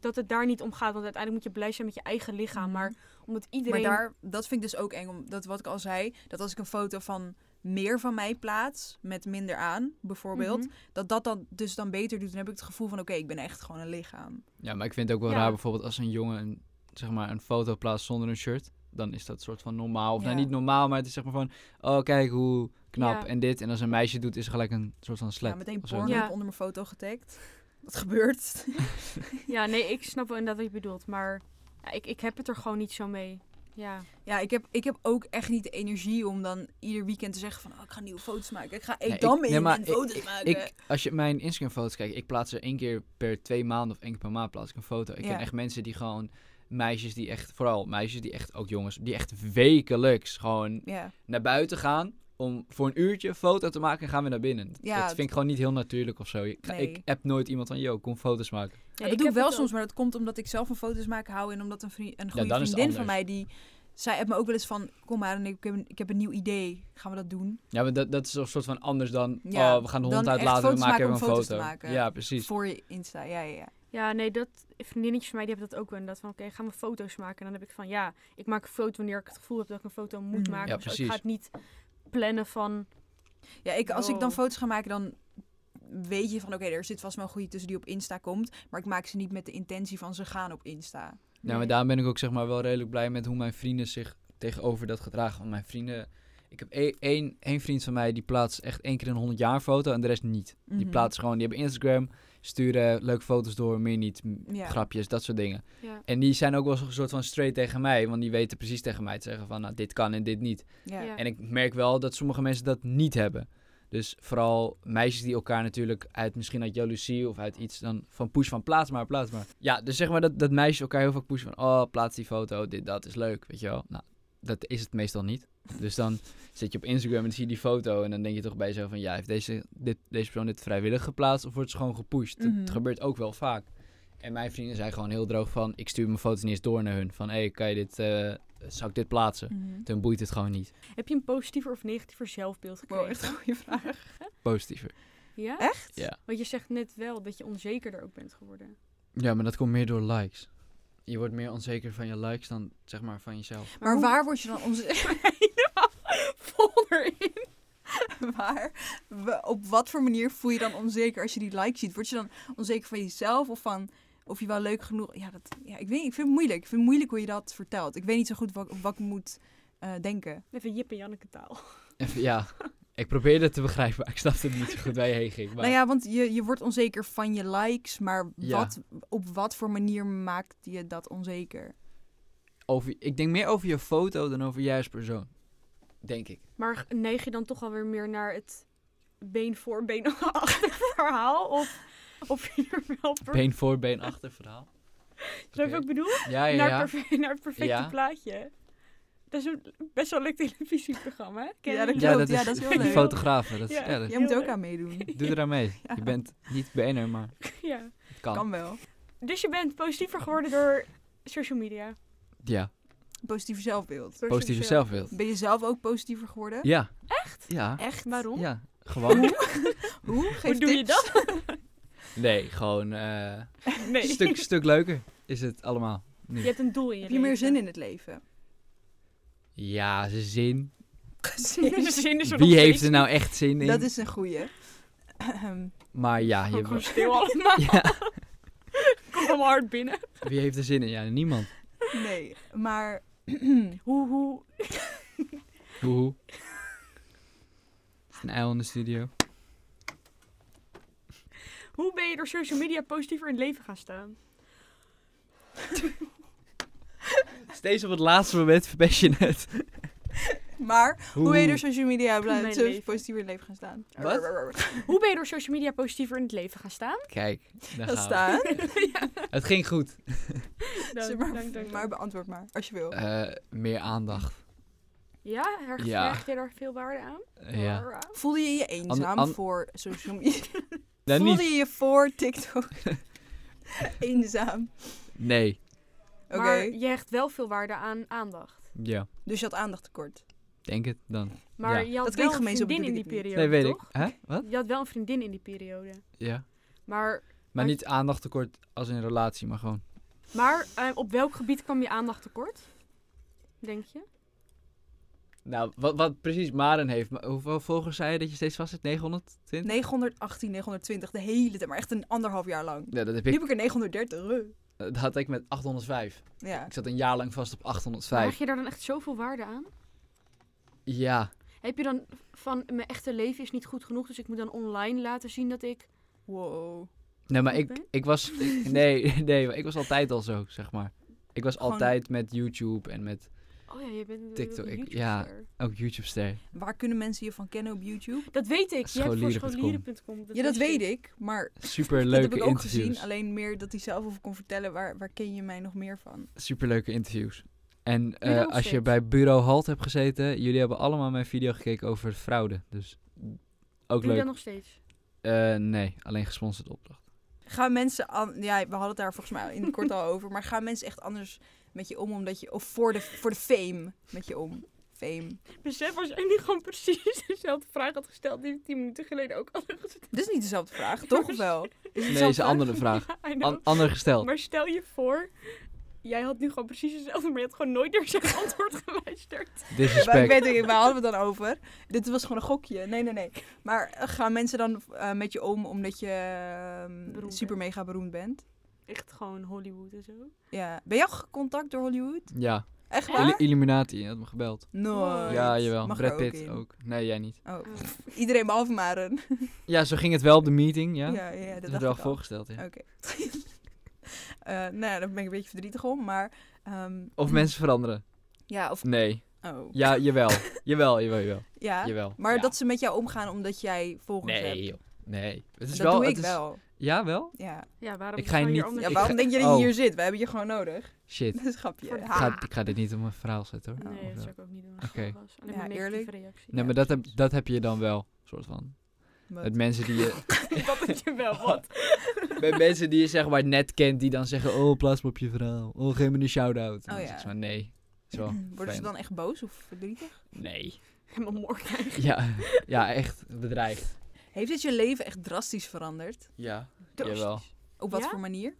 [SPEAKER 1] dat het daar niet om gaat, want uiteindelijk moet je blij zijn met je eigen lichaam.
[SPEAKER 2] Mhm.
[SPEAKER 1] Maar omdat iedereen...
[SPEAKER 2] Maar daar, dat vind ik dus ook eng. om- Dat wat ik al zei, dat als ik een foto van meer van mij plaats, met minder aan, bijvoorbeeld,
[SPEAKER 1] Mhm.
[SPEAKER 2] dat dat dan dus dan beter doet. Dan heb ik het gevoel van, oké, ik ben echt gewoon een lichaam.
[SPEAKER 3] Ja, maar ik vind het ook wel
[SPEAKER 1] Ja.
[SPEAKER 3] raar bijvoorbeeld als een jongen een, zeg maar, een foto plaatst zonder een shirt. Dan is dat soort van normaal. Of nou
[SPEAKER 2] Ja.
[SPEAKER 3] niet normaal, maar het is zeg maar van... Oh, kijk hoe knap
[SPEAKER 1] Ja.
[SPEAKER 3] en dit. En als een meisje doet, is er gelijk een soort van slap.
[SPEAKER 2] Ja, meteen
[SPEAKER 3] of zo.
[SPEAKER 2] porno
[SPEAKER 1] Ja.
[SPEAKER 2] onder mijn foto getagd. Wat gebeurt?
[SPEAKER 1] Mhm. Ja, nee, ik snap wel inderdaad wat je bedoelt, maar ja, ik, ik heb het er gewoon niet zo mee. Ja.
[SPEAKER 2] Ja, ik heb, ik heb ook echt niet de energie om dan ieder weekend te zeggen van, oh, ik ga nieuwe foto's maken. Ik ga
[SPEAKER 3] Nee,
[SPEAKER 2] ik dan
[SPEAKER 3] ik- nee,
[SPEAKER 2] mee en
[SPEAKER 3] maar ik-
[SPEAKER 2] foto's maken.
[SPEAKER 3] Ik, als je mijn Instagram foto's kijkt, ik plaats er één keer per twee maanden of één keer per maand plaats ik een foto. Ik
[SPEAKER 2] Ja.
[SPEAKER 3] ken echt mensen die gewoon... Meisjes die echt, vooral meisjes die echt, ook jongens, die echt wekelijks gewoon
[SPEAKER 2] ja.
[SPEAKER 3] naar buiten gaan om voor een uurtje een foto te maken en gaan weer naar binnen.
[SPEAKER 2] Ja,
[SPEAKER 3] dat vind ik gewoon niet heel natuurlijk of zo. Ik,
[SPEAKER 2] Nee.
[SPEAKER 3] ik app nooit iemand van, yo, kom foto's maken.
[SPEAKER 1] Ja,
[SPEAKER 2] Ja,
[SPEAKER 1] ik
[SPEAKER 2] dat
[SPEAKER 1] heb
[SPEAKER 2] doe ik wel
[SPEAKER 1] het ook.
[SPEAKER 2] soms, maar dat komt omdat ik zelf van foto's maken hou en omdat een, vriend, een goede
[SPEAKER 3] dan is het
[SPEAKER 2] vriendin van
[SPEAKER 3] anders.
[SPEAKER 2] mij die zij heeft me ook wel eens van, kom maar, en ik heb, een, ik heb een nieuw idee, gaan we dat doen
[SPEAKER 3] Ja, maar dat, dat is een soort van anders dan,
[SPEAKER 2] Ja,
[SPEAKER 3] oh, we gaan de
[SPEAKER 2] dan
[SPEAKER 3] hond
[SPEAKER 2] echt
[SPEAKER 3] uitlaten, we
[SPEAKER 2] foto's
[SPEAKER 3] maken
[SPEAKER 2] maken
[SPEAKER 3] even een
[SPEAKER 2] om foto's te
[SPEAKER 3] foto.
[SPEAKER 2] maken.
[SPEAKER 3] Ja, precies.
[SPEAKER 2] voor je Insta. Ja, ja, ja.
[SPEAKER 1] Ja, nee, dat, vriendinnetjes van mij die hebben dat ook wel. Dat van, oké, gaan we foto's maken? En dan heb ik van, ja, ik maak een foto wanneer ik het gevoel heb dat ik een foto moet
[SPEAKER 2] Mhm.
[SPEAKER 1] maken.
[SPEAKER 3] Mm. Ja,
[SPEAKER 1] of zo.
[SPEAKER 3] precies. Nou,
[SPEAKER 1] Ik ga het niet plannen van,
[SPEAKER 2] ja ik, als ik dan
[SPEAKER 1] Wow.
[SPEAKER 2] foto's ga maken, dan weet je van, oké, er zit vast wel een goede tussen die op Insta komt, maar ik maak ze niet met de intentie van ze gaan op Insta.
[SPEAKER 3] Nou, maar
[SPEAKER 1] nee.
[SPEAKER 3] daarom ben ik ook zeg maar wel redelijk blij met hoe mijn vrienden zich tegenover dat gedragen. Want mijn vrienden... Ik heb e-, één- één één vriend van mij, die plaatst echt één keer een 100 jaar foto en de rest niet. Die
[SPEAKER 2] Mhm.
[SPEAKER 3] plaatsen gewoon, die hebben Instagram, sturen leuke foto's door, meer niet, m-
[SPEAKER 2] Ja.
[SPEAKER 3] grapjes, dat soort dingen.
[SPEAKER 1] Ja.
[SPEAKER 3] En die zijn ook wel zo'n soort van straight tegen mij, want die weten precies tegen mij te zeggen van, nou, dit kan en dit niet.
[SPEAKER 2] Ja.
[SPEAKER 1] Ja.
[SPEAKER 3] En ik merk wel dat sommige mensen dat niet hebben. Dus vooral meisjes die elkaar natuurlijk uit misschien uit jaloezie of uit iets dan van push van plaats maar, plaats maar. Ja, dus zeg maar dat, dat meisjes elkaar heel vaak pushen van oh, plaats die foto, dit, dat is leuk, weet je wel. Nou, dat is het meestal niet. Dus dan zit je op Instagram en dan zie je die foto en dan denk je toch bij jezelf van ja, heeft deze, dit, deze persoon dit vrijwillig geplaatst of wordt ze gewoon gepusht? Dat
[SPEAKER 2] Mhm.
[SPEAKER 3] gebeurt ook wel vaak. En mijn vrienden zijn gewoon heel droog van ik stuur mijn foto's niet eens door naar hun. Van hé, hey, kan je dit, eh, zou ik dit plaatsen?
[SPEAKER 2] Mhm.
[SPEAKER 3] Toen boeit het gewoon niet.
[SPEAKER 1] Heb je een positiever of negatiever zelfbeeld gekregen?
[SPEAKER 2] Wow, echt een goede vraag.
[SPEAKER 3] Positiever.
[SPEAKER 1] Ja?
[SPEAKER 2] Echt?
[SPEAKER 3] Ja.
[SPEAKER 1] Want je zegt net wel dat je onzekerder ook bent geworden.
[SPEAKER 3] Ja, maar dat komt meer door likes. Je wordt meer onzeker van je likes dan zeg maar van jezelf.
[SPEAKER 2] Maar
[SPEAKER 1] hoe-
[SPEAKER 2] waar word je dan onzeker?
[SPEAKER 1] Helemaal vol erin.
[SPEAKER 2] Waar? we- Op wat voor manier voel je dan onzeker als je die like ziet? Word je dan onzeker van jezelf of van of je wel leuk genoeg? Ja, dat, ja ik, weet, ik vind het moeilijk. Ik vind het moeilijk hoe je dat vertelt. Ik weet niet zo goed wat, wat ik moet eh, denken.
[SPEAKER 1] Even Jip en Janneke taal.
[SPEAKER 3] Even, ja, ik probeerde het te begrijpen, maar ik snapte het niet zo goed waar je heen ging. Maar
[SPEAKER 2] Nou ja, want je, je wordt onzeker van je likes, maar
[SPEAKER 3] Ja.
[SPEAKER 2] wat, op wat voor manier maakt je dat onzeker?
[SPEAKER 3] over, ik denk meer over je foto dan over jij als persoon. Denk ik.
[SPEAKER 1] Maar g- neig je dan toch alweer meer naar het been voor, been achter verhaal? Of, of je er wel per...
[SPEAKER 3] Been voor, been achter verhaal.
[SPEAKER 1] Snap je
[SPEAKER 3] Oké.
[SPEAKER 1] wat ik bedoel?
[SPEAKER 3] Ja, ja,
[SPEAKER 1] naar,
[SPEAKER 3] ja.
[SPEAKER 1] het perfe- naar het perfecte
[SPEAKER 3] Ja.
[SPEAKER 1] plaatje. Dat is een best wel leuk televisieprogramma. hè? Kennen
[SPEAKER 2] Ja, dat
[SPEAKER 1] jullie
[SPEAKER 3] Ja,
[SPEAKER 2] klopt.
[SPEAKER 3] dat
[SPEAKER 2] Ja,
[SPEAKER 3] is,
[SPEAKER 2] dat is heel
[SPEAKER 3] die
[SPEAKER 2] leuk.
[SPEAKER 3] fotografen. Dat is,
[SPEAKER 1] Ja.
[SPEAKER 3] ja. dat-
[SPEAKER 2] Jij moet
[SPEAKER 1] Heel
[SPEAKER 2] ook
[SPEAKER 1] leuk.
[SPEAKER 2] aan meedoen.
[SPEAKER 3] doe eraan mee. Je bent niet bener, maar
[SPEAKER 1] Ja.
[SPEAKER 3] het kan.
[SPEAKER 2] Kan wel.
[SPEAKER 1] Dus je bent positiever geworden door social media.
[SPEAKER 3] Ja,
[SPEAKER 2] Positief zelfbeeld.
[SPEAKER 1] Door
[SPEAKER 3] positieve
[SPEAKER 1] social-
[SPEAKER 3] zelfbeeld.
[SPEAKER 2] Ben je zelf ook positiever geworden?
[SPEAKER 3] Ja. Echt? Ja.
[SPEAKER 2] Echt?
[SPEAKER 1] Waarom?
[SPEAKER 3] Ja, gewoon.
[SPEAKER 2] Hoe? Geef
[SPEAKER 1] Hoe doe je
[SPEAKER 2] tips.
[SPEAKER 1] dat?
[SPEAKER 3] Nee, gewoon eh
[SPEAKER 1] Nee.
[SPEAKER 3] stuk, stuk leuker is het allemaal.
[SPEAKER 1] Je hebt een doel in je
[SPEAKER 2] Heb je meer
[SPEAKER 1] leven.
[SPEAKER 2] zin in het leven?
[SPEAKER 3] Ja, ze zin.
[SPEAKER 1] De zin is er nog
[SPEAKER 3] Wie heeft
[SPEAKER 1] steeds
[SPEAKER 3] er nou echt zin in?
[SPEAKER 2] Dat is een goeie. Ehm, Ahem.
[SPEAKER 3] Maar ja,
[SPEAKER 1] niet.
[SPEAKER 3] je...
[SPEAKER 1] Ook gewoon stil allemaal.
[SPEAKER 3] ja,
[SPEAKER 1] Komt allemaal hard binnen.
[SPEAKER 3] wie heeft er zin in? Ja, niemand.
[SPEAKER 2] nee, maar
[SPEAKER 1] Hoe, hoe...
[SPEAKER 3] Hoehoe. Het is een uil in de studio.
[SPEAKER 1] Hoe ben je door social media positiever in het leven gaan staan?
[SPEAKER 3] Steeds op het laatste moment verpest je het.
[SPEAKER 2] maar hoe ben je door social media
[SPEAKER 1] Mijn
[SPEAKER 2] blijft zo
[SPEAKER 1] leven.
[SPEAKER 2] positief in het leven gaan staan?
[SPEAKER 3] Wat?
[SPEAKER 1] Hoe ben je door social media positiever in het leven gaan staan?
[SPEAKER 3] Kijk, daar
[SPEAKER 2] Dat
[SPEAKER 3] gaan
[SPEAKER 2] staat.
[SPEAKER 3] we. Het ging goed.
[SPEAKER 2] Zeg maar, maar beantwoord maar, als je wil.
[SPEAKER 3] Eh, meer aandacht.
[SPEAKER 1] Ja, her-
[SPEAKER 3] Ja.
[SPEAKER 1] hecht je daar veel waarde aan?
[SPEAKER 3] Eh, ja.
[SPEAKER 1] Waaraan?
[SPEAKER 2] Voelde je je eenzaam
[SPEAKER 3] an-
[SPEAKER 2] voor social media?
[SPEAKER 3] Dan
[SPEAKER 2] Voelde
[SPEAKER 3] Nou, niet.
[SPEAKER 2] je je voor TikTok eenzaam?
[SPEAKER 3] Nee.
[SPEAKER 2] Oké,
[SPEAKER 1] Maar je hecht wel veel waarde aan aandacht.
[SPEAKER 3] Ja.
[SPEAKER 2] dus je had aandacht tekort.
[SPEAKER 3] Denk het dan.
[SPEAKER 1] Maar
[SPEAKER 3] Ja.
[SPEAKER 1] je had wel
[SPEAKER 2] Dat klinkt
[SPEAKER 1] een
[SPEAKER 2] gemeen, zo
[SPEAKER 1] vriendin in
[SPEAKER 2] bedoel
[SPEAKER 1] die
[SPEAKER 2] ik het niet.
[SPEAKER 1] periode,
[SPEAKER 3] Nee, weet ik.
[SPEAKER 1] toch?
[SPEAKER 3] Hè? Wat?
[SPEAKER 1] Je had wel een vriendin in die periode.
[SPEAKER 3] Ja.
[SPEAKER 1] Maar,
[SPEAKER 3] Maar
[SPEAKER 1] Maar-
[SPEAKER 3] niet aandachttekort als in relatie, maar gewoon.
[SPEAKER 1] maar eh, op welk gebied kwam je aandacht tekort? Denk je?
[SPEAKER 3] Nou, wat, wat precies Maren heeft. Maar Hoeveel volgers zei je dat je steeds vast zit? 920?
[SPEAKER 2] 918, 920, de hele tijd, maar echt een anderhalf jaar lang.
[SPEAKER 3] Ja, dat heb
[SPEAKER 2] Nu
[SPEAKER 3] ik.
[SPEAKER 2] heb ik er 930. eh.
[SPEAKER 3] Dat had ik met 805.
[SPEAKER 2] Ja.
[SPEAKER 3] Ik zat een jaar lang vast op
[SPEAKER 1] Maar
[SPEAKER 3] 805.
[SPEAKER 1] Hecht je daar dan echt zoveel waarde aan?
[SPEAKER 3] Ja,
[SPEAKER 1] Heb je dan van mijn echte leven is niet goed genoeg, dus ik moet dan online laten zien dat ik...
[SPEAKER 2] Wow.
[SPEAKER 3] nee, maar
[SPEAKER 1] Goed,
[SPEAKER 3] ik,
[SPEAKER 1] hè?
[SPEAKER 3] ik was. ik- nee, nee, maar ik was altijd al zo, zeg maar. Ik was
[SPEAKER 2] Gewoon-
[SPEAKER 3] altijd met YouTube en met
[SPEAKER 1] Oh ja, je bent een
[SPEAKER 3] TikTok, ik-
[SPEAKER 1] YouTuber.
[SPEAKER 3] ja. ook YouTube-ster.
[SPEAKER 2] Waar kunnen mensen je van kennen op YouTube?
[SPEAKER 1] Dat weet ik. Je hebt voor
[SPEAKER 3] Scholieren.com.
[SPEAKER 1] scholieren.com.
[SPEAKER 2] ja, dat
[SPEAKER 1] wist
[SPEAKER 2] weet ik, maar
[SPEAKER 3] Super
[SPEAKER 2] dat heb
[SPEAKER 3] leuke
[SPEAKER 2] ik ook
[SPEAKER 3] interviews.
[SPEAKER 2] gezien. Alleen meer dat hij zelf over kon vertellen, waar, waar ken je mij nog meer van?
[SPEAKER 3] Super leuke interviews. En eh,
[SPEAKER 1] Bureau
[SPEAKER 3] als je
[SPEAKER 1] Fit.
[SPEAKER 3] bij Bureau Halt hebt gezeten, jullie hebben allemaal mijn video gekeken over fraude. Dus ook
[SPEAKER 1] Doe je
[SPEAKER 3] leuk.
[SPEAKER 1] dat nog steeds?
[SPEAKER 3] Eh, nee, alleen gesponsord opdracht.
[SPEAKER 2] Gaan mensen, an- ja, we hadden het daar volgens mij in het kort al over, maar gaan mensen echt anders met je om, omdat je, of voor de, voor de fame met je om? Fame.
[SPEAKER 1] Besef als jij nu gewoon precies dezelfde vraag had gesteld die we tien minuten geleden ook hadden gesteld.
[SPEAKER 2] Dit is niet dezelfde vraag, toch of wel?
[SPEAKER 3] Nee, is een andere vraag.
[SPEAKER 1] Ja, I know.
[SPEAKER 3] An- ander gesteld.
[SPEAKER 1] maar stel je voor, jij had nu gewoon precies dezelfde, maar je had gewoon nooit naar zijn antwoord geluisterd.
[SPEAKER 2] Maar ik
[SPEAKER 3] Disrespect.
[SPEAKER 2] weet niet, waar hadden we het dan over? Dit was gewoon een gokje. Nee, nee, nee. Maar eh, gaan mensen dan eh, met je om omdat je ehm,
[SPEAKER 1] Beroemd
[SPEAKER 2] super
[SPEAKER 1] bent.
[SPEAKER 2] mega beroemd bent?
[SPEAKER 1] Echt gewoon Hollywood en zo.
[SPEAKER 2] Ja. Ben jij al gecontact door Hollywood?
[SPEAKER 3] Ja,
[SPEAKER 2] Echt
[SPEAKER 1] Echt?
[SPEAKER 2] waar?
[SPEAKER 1] Waar?
[SPEAKER 3] Illu- Illuminati, had me gebeld.
[SPEAKER 2] Nooit.
[SPEAKER 3] Ja, jawel.
[SPEAKER 2] Mag
[SPEAKER 3] Brad
[SPEAKER 2] er ook
[SPEAKER 3] Pitt
[SPEAKER 2] in.
[SPEAKER 3] ook. Nee, jij niet.
[SPEAKER 2] Oh.
[SPEAKER 1] Oh.
[SPEAKER 2] Iedereen behalve Maren.
[SPEAKER 3] Ja, zo ging het wel op de meeting, ja.
[SPEAKER 2] Ja,
[SPEAKER 3] dat
[SPEAKER 2] ja, dat dacht
[SPEAKER 3] werd wel
[SPEAKER 2] ik al.
[SPEAKER 3] voorgesteld, ja.
[SPEAKER 2] Oké. Eh, nou ja, daar ben ik een beetje verdrietig om, maar... ehm,
[SPEAKER 3] Of mensen veranderen.
[SPEAKER 2] Ja, of...
[SPEAKER 3] Nee.
[SPEAKER 2] Oh.
[SPEAKER 3] Ja, jawel. jawel, jawel, jawel.
[SPEAKER 2] Ja,
[SPEAKER 3] jawel.
[SPEAKER 2] maar
[SPEAKER 3] Ja.
[SPEAKER 2] dat ze met jou omgaan omdat jij volgers
[SPEAKER 3] Nee,
[SPEAKER 2] hebt.
[SPEAKER 3] joh. Nee. Het is
[SPEAKER 2] dat
[SPEAKER 3] wel,
[SPEAKER 2] doe ik
[SPEAKER 3] het is-
[SPEAKER 2] wel.
[SPEAKER 3] Ja, wel?
[SPEAKER 2] Ja.
[SPEAKER 1] Ja, waarom
[SPEAKER 3] Ik ga
[SPEAKER 1] zou
[SPEAKER 3] je
[SPEAKER 1] hier
[SPEAKER 3] niet-
[SPEAKER 1] anders-
[SPEAKER 2] ja,
[SPEAKER 3] Ik
[SPEAKER 2] waarom
[SPEAKER 3] ga-
[SPEAKER 2] denk je dat je
[SPEAKER 3] oh.
[SPEAKER 2] hier zit? We hebben je gewoon nodig.
[SPEAKER 3] Shit.
[SPEAKER 2] Dat is een grapje.
[SPEAKER 1] Voor de-
[SPEAKER 3] Ik
[SPEAKER 2] Ha.
[SPEAKER 3] ga, ik ga dit niet op mijn verhaal zetten, hoor.
[SPEAKER 1] Nee,
[SPEAKER 3] Of
[SPEAKER 1] dat
[SPEAKER 3] wel?
[SPEAKER 1] zou ik ook niet doen.
[SPEAKER 3] Oh, Oké.
[SPEAKER 1] Oké. Alleen
[SPEAKER 2] Ja,
[SPEAKER 1] maar
[SPEAKER 2] eerlijk.
[SPEAKER 1] negatieve reactie.
[SPEAKER 3] Nee, maar dat heb, dat heb je dan wel, soort van.
[SPEAKER 2] Wat?
[SPEAKER 3] Met mensen die je,
[SPEAKER 1] dat heb je wel wat.
[SPEAKER 3] met mensen die je zeg maar net kent, die dan zeggen, oh, plaats me op je verhaal. Oh, geef me een shout-out. En
[SPEAKER 2] Oh,
[SPEAKER 3] dan
[SPEAKER 2] ja.
[SPEAKER 3] zeg ik maar, nee. Zo.
[SPEAKER 2] Worden ze
[SPEAKER 3] fijn.
[SPEAKER 2] dan echt boos of verdrietig?
[SPEAKER 3] Nee.
[SPEAKER 1] Helemaal morgen.
[SPEAKER 3] Ja, ja, echt bedreigd.
[SPEAKER 2] Heeft dit je leven echt drastisch veranderd?
[SPEAKER 3] Ja,
[SPEAKER 2] Drastisch.
[SPEAKER 3] jawel.
[SPEAKER 2] Op wat
[SPEAKER 1] Ja?
[SPEAKER 2] voor manier?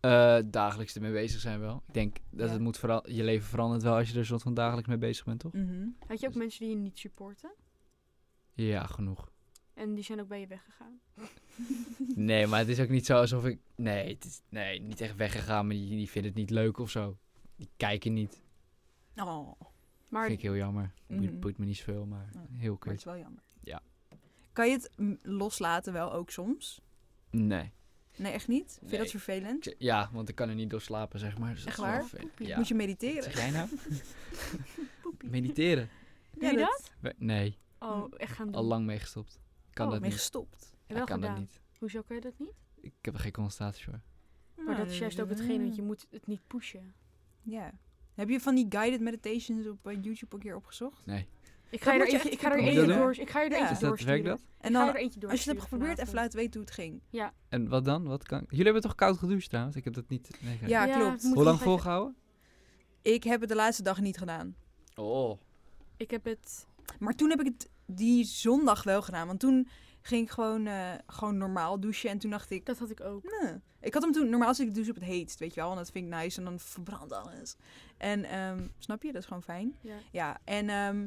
[SPEAKER 3] Eh, dagelijks ermee bezig zijn wel. Ik denk dat
[SPEAKER 2] Ja.
[SPEAKER 3] het moet vooral... Je leven verandert wel als je er soort van dagelijks mee bezig bent, toch?
[SPEAKER 2] Mhm.
[SPEAKER 1] Had
[SPEAKER 3] Dus-
[SPEAKER 1] je ook mensen die je niet supporten?
[SPEAKER 3] Ja, genoeg.
[SPEAKER 1] En die zijn ook bij je weggegaan.
[SPEAKER 3] Nee, maar het is ook niet zo alsof ik... Nee, het is, nee niet echt weggegaan, maar die, die vinden het niet leuk of zo. Die kijken niet.
[SPEAKER 2] Oh,
[SPEAKER 1] Maar
[SPEAKER 3] Vind ik heel jammer. Boeit,
[SPEAKER 2] Mhm.
[SPEAKER 3] boeit me niet zoveel, maar
[SPEAKER 2] Oh,
[SPEAKER 3] heel
[SPEAKER 2] maar het
[SPEAKER 3] kut.
[SPEAKER 2] is wel jammer.
[SPEAKER 3] Ja.
[SPEAKER 2] Kan je het mm, loslaten wel ook soms?
[SPEAKER 3] Nee.
[SPEAKER 2] Nee, echt niet? Vind je
[SPEAKER 3] Nee.
[SPEAKER 2] dat vervelend?
[SPEAKER 3] Ik- Ja, want ik kan er niet door slapen, zeg maar. Dus dat
[SPEAKER 2] Echt
[SPEAKER 3] is wel
[SPEAKER 2] waar?
[SPEAKER 3] vervelend.
[SPEAKER 1] Poepie.
[SPEAKER 3] Ja.
[SPEAKER 2] Moet je
[SPEAKER 3] Wat
[SPEAKER 2] mediteren?
[SPEAKER 3] zeg jij nou? Mediteren?
[SPEAKER 1] Doe je dat?
[SPEAKER 3] We- Nee,
[SPEAKER 1] Oh, echt gaan
[SPEAKER 2] Mhm.
[SPEAKER 1] doen.
[SPEAKER 3] al lang mee gestopt. Kan
[SPEAKER 1] Oh,
[SPEAKER 3] dat
[SPEAKER 2] mee
[SPEAKER 3] niet.
[SPEAKER 2] gestopt.
[SPEAKER 1] Heb je
[SPEAKER 3] Ik
[SPEAKER 1] wel
[SPEAKER 3] kan dat
[SPEAKER 1] gedaan.
[SPEAKER 3] niet.
[SPEAKER 1] Hoezo kan je dat niet?
[SPEAKER 3] Ik heb er geen concentratie voor.
[SPEAKER 1] Maar dat is juist ook hetgeen, want je moet het niet pushen.
[SPEAKER 2] Ja. Heb je van die guided meditations op eh, YouTube een keer opgezocht?
[SPEAKER 3] Nee.
[SPEAKER 1] Ik ga je
[SPEAKER 2] moet
[SPEAKER 1] er
[SPEAKER 2] je
[SPEAKER 1] eentje,
[SPEAKER 2] echt
[SPEAKER 1] ik ga er
[SPEAKER 2] een
[SPEAKER 3] keer
[SPEAKER 1] eentje
[SPEAKER 3] doen.
[SPEAKER 1] door. Ik ga je er
[SPEAKER 2] Ja.
[SPEAKER 1] eentje
[SPEAKER 2] Is
[SPEAKER 3] dat-
[SPEAKER 1] doorsturen.
[SPEAKER 3] werkt dat?
[SPEAKER 2] En
[SPEAKER 1] Ik ga
[SPEAKER 2] dan,
[SPEAKER 1] je er eentje
[SPEAKER 2] als je het hebt
[SPEAKER 1] doorsturen
[SPEAKER 2] geprobeerd, even
[SPEAKER 1] vanavond.
[SPEAKER 2] laten weten hoe het ging.
[SPEAKER 3] En wat dan? Wat kan... Jullie hebben toch koud gedoucht trouwens? Ik heb dat niet... Nee, kijk.
[SPEAKER 2] Ja,
[SPEAKER 1] Ja,
[SPEAKER 2] klopt.
[SPEAKER 1] moet-
[SPEAKER 3] Hoe lang
[SPEAKER 1] nog even-
[SPEAKER 3] volgehouden?
[SPEAKER 2] Ik heb het de laatste dag niet gedaan.
[SPEAKER 3] Oh.
[SPEAKER 1] Ik heb het...
[SPEAKER 2] Maar toen heb ik het die zondag wel gedaan. Want toen ging ik gewoon, eh, gewoon normaal douchen. En toen dacht ik,
[SPEAKER 1] Dat had ik ook.
[SPEAKER 2] Nee. Ik had hem toen, normaal als ik douche op het heetst, weet je wel, want dat vind ik nice en dan verbrandt alles. En ehm, snap je, dat is gewoon fijn.
[SPEAKER 1] Ja.
[SPEAKER 2] Ja, en, ehm,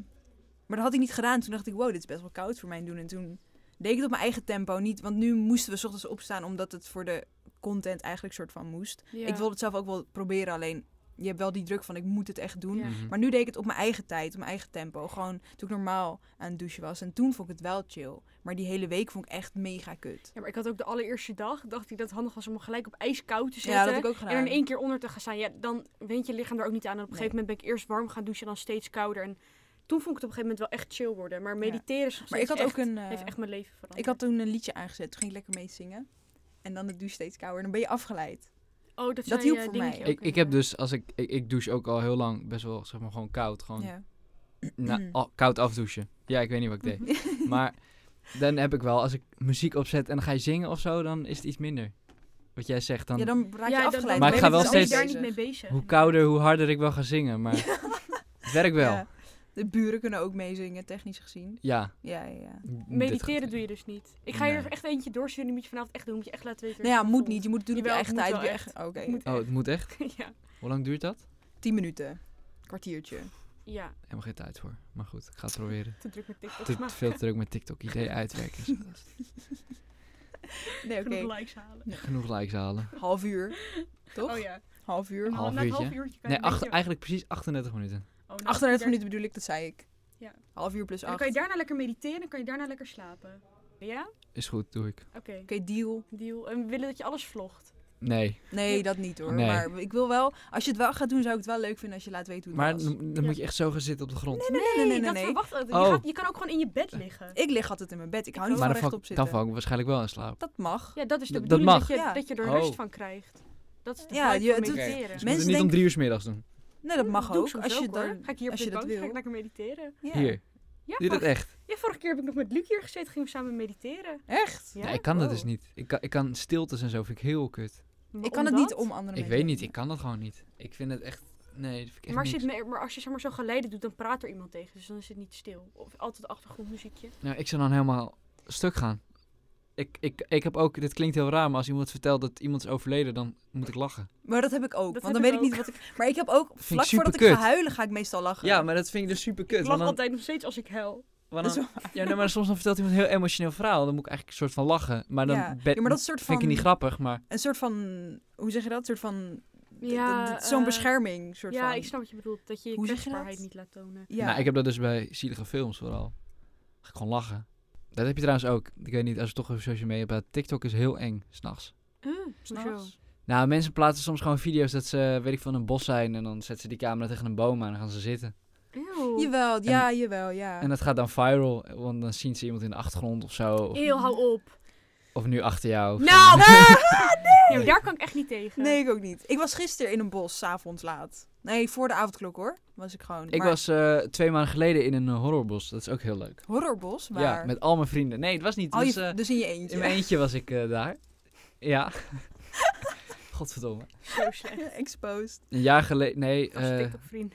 [SPEAKER 2] maar dat had ik niet gedaan. Toen dacht ik, wow, dit is best wel koud voor mij doen. En toen deed ik het op mijn eigen tempo niet, want nu moesten we 's ochtends opstaan omdat het voor de content eigenlijk soort van moest.
[SPEAKER 1] Ja.
[SPEAKER 2] Ik wilde het zelf ook wel proberen, alleen je hebt wel die druk van ik moet het echt doen.
[SPEAKER 1] Ja.
[SPEAKER 3] Mhm.
[SPEAKER 2] Maar nu deed ik het op mijn eigen tijd, op mijn eigen tempo. Gewoon toen ik normaal aan het douchen was. En toen vond ik het wel chill. Maar die hele week vond ik echt mega kut.
[SPEAKER 1] Ja, maar ik had ook de allereerste dag, dacht ik dat het handig was om hem gelijk op ijskoud te zetten.
[SPEAKER 2] Ja, dat heb ik ook gedaan.
[SPEAKER 1] En er in één keer onder te gaan staan. Ja, dan wint je lichaam er ook niet aan. En op een
[SPEAKER 2] Nee.
[SPEAKER 1] gegeven moment ben ik eerst warm gaan douchen, dan steeds kouder. En toen vond ik het op een gegeven moment wel echt chill worden. Maar mediteren is nog
[SPEAKER 2] Maar ik had
[SPEAKER 1] steeds
[SPEAKER 2] ook
[SPEAKER 1] echt-
[SPEAKER 2] een. eh,
[SPEAKER 1] heeft echt mijn leven veranderd.
[SPEAKER 2] ik had toen een liedje aangezet. Toen ging ik lekker mee zingen. En dan de douche steeds kouder. Dan ben je afgeleid.
[SPEAKER 1] oh, dat,
[SPEAKER 2] hielp voor mij.
[SPEAKER 3] Ik, ik heb dus, als ik, ik, ik douche ook al heel lang best wel, zeg maar, gewoon koud. Gewoon
[SPEAKER 2] Ja.
[SPEAKER 3] na-
[SPEAKER 1] Mm.
[SPEAKER 3] al- koud afdouchen. Ja, ik weet niet wat ik deed. maar dan heb ik wel, als ik muziek opzet en dan ga je zingen of zo, dan is het iets minder. Wat jij zegt, dan,
[SPEAKER 2] ja, dan dus raak je afgeleid.
[SPEAKER 3] Maar
[SPEAKER 2] dan
[SPEAKER 3] ik
[SPEAKER 2] ben
[SPEAKER 3] ga
[SPEAKER 2] je
[SPEAKER 3] wel
[SPEAKER 2] met
[SPEAKER 3] steeds-
[SPEAKER 2] iets
[SPEAKER 1] daar
[SPEAKER 2] anders
[SPEAKER 1] dus niet mee
[SPEAKER 2] bezig.
[SPEAKER 1] bezig.
[SPEAKER 3] hoe kouder, hoe harder ik wel ga zingen. Maar het werkt wel.
[SPEAKER 2] Ja.
[SPEAKER 3] Ja.
[SPEAKER 2] De buren kunnen ook meezingen, technisch gezien. Ja, ja, ja.
[SPEAKER 1] Mediteren doe je dus niet. Ik ga je er
[SPEAKER 3] Nee.
[SPEAKER 1] echt eentje doorsturen. Die moet je vanavond echt doen. Moet je echt laten weten.
[SPEAKER 2] Nou ja, moet niet. Je moet doen op je
[SPEAKER 1] Jawel,
[SPEAKER 2] eigen
[SPEAKER 1] het
[SPEAKER 2] tijd.
[SPEAKER 1] moet
[SPEAKER 2] op je
[SPEAKER 1] wel
[SPEAKER 2] eigen- Oké.
[SPEAKER 1] moet-
[SPEAKER 3] Oh, het moet echt?
[SPEAKER 1] ja.
[SPEAKER 3] Hoe lang duurt dat?
[SPEAKER 2] Tien minuten. Kwartiertje.
[SPEAKER 1] ja,
[SPEAKER 3] Helemaal geen tijd voor. Maar goed, ik ga het proberen.
[SPEAKER 1] te druk met TikTok.
[SPEAKER 3] Te,
[SPEAKER 1] maar
[SPEAKER 3] veel druk met TikTok. Idee uitwerken. en zo.
[SPEAKER 2] Nee, oké.
[SPEAKER 1] genoeg likes halen.
[SPEAKER 3] Genoeg likes halen.
[SPEAKER 2] Half uur. Toch?
[SPEAKER 1] Oh ja. Oh,
[SPEAKER 2] Half uur.
[SPEAKER 3] Half
[SPEAKER 1] na het half
[SPEAKER 3] uurtje?
[SPEAKER 1] uurtje kan je
[SPEAKER 3] Nee,
[SPEAKER 1] een
[SPEAKER 3] acht-
[SPEAKER 1] beetje-
[SPEAKER 3] eigenlijk precies 38 minuten.
[SPEAKER 1] Oh, nou,
[SPEAKER 2] 38
[SPEAKER 1] daar-
[SPEAKER 2] minuten bedoel ik, dat zei ik.
[SPEAKER 1] Ja.
[SPEAKER 2] Half uur plus
[SPEAKER 1] En dan
[SPEAKER 2] acht.
[SPEAKER 1] kan je
[SPEAKER 2] Oké,
[SPEAKER 1] daarna lekker mediteren. Dan kan je daarna lekker slapen. Ja?
[SPEAKER 3] Is goed, doe ik.
[SPEAKER 1] Oké.
[SPEAKER 2] deal.
[SPEAKER 1] Deal. En we willen dat je alles vlogt.
[SPEAKER 3] Nee,
[SPEAKER 2] Nee, dat niet hoor.
[SPEAKER 3] Nee.
[SPEAKER 2] Maar ik wil wel, als je het wel gaat doen, zou ik het wel leuk vinden als je laat weten hoe
[SPEAKER 3] maar
[SPEAKER 2] het was.
[SPEAKER 3] dan, dan moet je echt zo gaan zitten op de grond.
[SPEAKER 2] Nee, nee, nee, nee,
[SPEAKER 1] dat
[SPEAKER 2] nee.
[SPEAKER 1] verwacht ik. Je,
[SPEAKER 3] Oh.
[SPEAKER 1] gaat- je kan ook gewoon in je bed liggen.
[SPEAKER 2] Ik lig altijd in mijn bed. Ik hou niet
[SPEAKER 3] maar
[SPEAKER 2] van
[SPEAKER 3] dan val,
[SPEAKER 2] rechtop
[SPEAKER 3] ik, dan
[SPEAKER 2] zitten.
[SPEAKER 3] val ik waarschijnlijk wel in slaap.
[SPEAKER 2] Dat mag.
[SPEAKER 1] Ja, dat is de
[SPEAKER 3] Dat- dat
[SPEAKER 1] bedoeling dat,
[SPEAKER 3] mag.
[SPEAKER 1] je,
[SPEAKER 2] Ja.
[SPEAKER 1] dat je er
[SPEAKER 3] Oh.
[SPEAKER 1] rust van krijgt. Dat is de
[SPEAKER 2] Ja,
[SPEAKER 1] ja,
[SPEAKER 2] je-
[SPEAKER 1] van
[SPEAKER 2] het-
[SPEAKER 1] mediteren.
[SPEAKER 3] Dus je moet het
[SPEAKER 2] Mensen
[SPEAKER 3] niet om
[SPEAKER 2] denken-
[SPEAKER 3] drie uur 's middags doen.
[SPEAKER 2] Nee, dat mag
[SPEAKER 1] Doe ik
[SPEAKER 2] ook.
[SPEAKER 1] soms
[SPEAKER 2] Als je
[SPEAKER 1] ook, hoor.
[SPEAKER 2] dan...
[SPEAKER 1] Ga ik hier op
[SPEAKER 2] als
[SPEAKER 1] de
[SPEAKER 2] je dat
[SPEAKER 1] bank, ga ik
[SPEAKER 2] wil.
[SPEAKER 1] lekker mediteren.
[SPEAKER 2] Ja.
[SPEAKER 3] Hier,
[SPEAKER 1] Ja,
[SPEAKER 3] doe je dat
[SPEAKER 1] vorige,
[SPEAKER 3] echt?
[SPEAKER 1] ja, vorige keer heb ik nog met Luc hier gezeten, gingen we samen mediteren.
[SPEAKER 2] Echt?
[SPEAKER 1] Ja, Oh.
[SPEAKER 3] Nee, ik kan dat
[SPEAKER 2] Wow.
[SPEAKER 3] dus niet. Ik kan, ik kan stiltes en zo vind ik heel kut.
[SPEAKER 1] Maar
[SPEAKER 2] Ik kan het
[SPEAKER 1] omdat-
[SPEAKER 2] niet om andere
[SPEAKER 3] Ik
[SPEAKER 2] mensen.
[SPEAKER 3] weet niet,
[SPEAKER 2] doen.
[SPEAKER 3] ik kan dat gewoon niet. Ik vind het echt... Nee, dat vind ik echt
[SPEAKER 1] Maar,
[SPEAKER 3] niks.
[SPEAKER 1] zit me- maar als je zeg maar, zo geleiden doet, dan praat er iemand tegen. Dus dan is het niet stil. Of altijd achtergrondmuziekje.
[SPEAKER 3] Nou, ik zou dan helemaal stuk gaan. Ik, ik, ik heb ook... Dit klinkt heel raar, maar als iemand vertelt dat iemand is overleden, dan moet ik lachen.
[SPEAKER 2] Maar dat heb ik ook.
[SPEAKER 1] Dat
[SPEAKER 2] want
[SPEAKER 1] heb
[SPEAKER 2] dan
[SPEAKER 1] ik
[SPEAKER 2] weet ik niet
[SPEAKER 1] ook.
[SPEAKER 2] wat ik... Maar ik heb ook,
[SPEAKER 3] ik
[SPEAKER 2] vlak voordat ik ga
[SPEAKER 3] superkut.
[SPEAKER 2] huilen, ga ik meestal lachen.
[SPEAKER 3] Ja, maar dat vind ik dus super kut.
[SPEAKER 1] Ik lach altijd nog steeds als ik huil.
[SPEAKER 2] dat is wel...
[SPEAKER 3] Ja, nee, maar soms dan vertelt iemand een heel emotioneel verhaal. Dan moet ik eigenlijk een soort van lachen. Maar dan
[SPEAKER 2] Ja.
[SPEAKER 3] ben-
[SPEAKER 2] Ja, maar dat is een soort
[SPEAKER 3] vind ik het niet
[SPEAKER 2] van...
[SPEAKER 3] grappig, maar...
[SPEAKER 2] Een soort van... Hoe zeg je dat? Een soort van d-
[SPEAKER 1] Ja,
[SPEAKER 2] d- d- zo'n
[SPEAKER 1] eh,
[SPEAKER 2] bescherming soort
[SPEAKER 1] ja,
[SPEAKER 2] van.
[SPEAKER 1] ik snap wat je bedoelt. Dat je je
[SPEAKER 2] Hoe zeg je
[SPEAKER 1] kwetsbaarheid
[SPEAKER 2] dat?
[SPEAKER 1] niet laat tonen.
[SPEAKER 2] Ja.
[SPEAKER 3] Nou, ik heb dat dus bij zielige films vooral. Ga ik gewoon lachen. Dat heb je trouwens ook. Ik weet niet, als we toch over social media hebben. TikTok is heel eng, s'nachts.
[SPEAKER 1] Hoezo?
[SPEAKER 3] Nou, mensen plaatsen soms gewoon video's dat ze, weet ik van een bos zijn. En dan zetten ze die camera tegen een boom aan en dan gaan ze zitten.
[SPEAKER 1] Eeuw.
[SPEAKER 2] Jawel, ja, jawel, ja.
[SPEAKER 3] En dat gaat dan viral, want dan zien ze iemand in de achtergrond of zo. Of,
[SPEAKER 1] Eeuw, hou op.
[SPEAKER 3] of nu achter jou. of zo.
[SPEAKER 1] Nou! nee, maar daar kan ik echt niet tegen.
[SPEAKER 2] eh, Nee, ik ook niet. Ik was gisteren in een bos, s'avonds laat. Nee, voor de avondklok hoor. Was ik gewoon.
[SPEAKER 3] Ik
[SPEAKER 2] Maar
[SPEAKER 3] was eh, twee maanden geleden in een eh, horrorbos. Dat is ook heel leuk.
[SPEAKER 2] Horrorbos, waar.
[SPEAKER 3] Ja, met al mijn vrienden. Nee, het was niet.
[SPEAKER 2] al
[SPEAKER 3] het
[SPEAKER 2] je,
[SPEAKER 3] was, eh,
[SPEAKER 2] dus in je eentje.
[SPEAKER 3] in mijn eentje was ik eh, daar. Ja. Godverdomme.
[SPEAKER 1] Zo
[SPEAKER 2] Eh,
[SPEAKER 1] slecht.
[SPEAKER 2] Exposed.
[SPEAKER 3] Een jaar geleden. Nee,
[SPEAKER 1] Als
[SPEAKER 3] eh,
[SPEAKER 1] TikTok-vriend.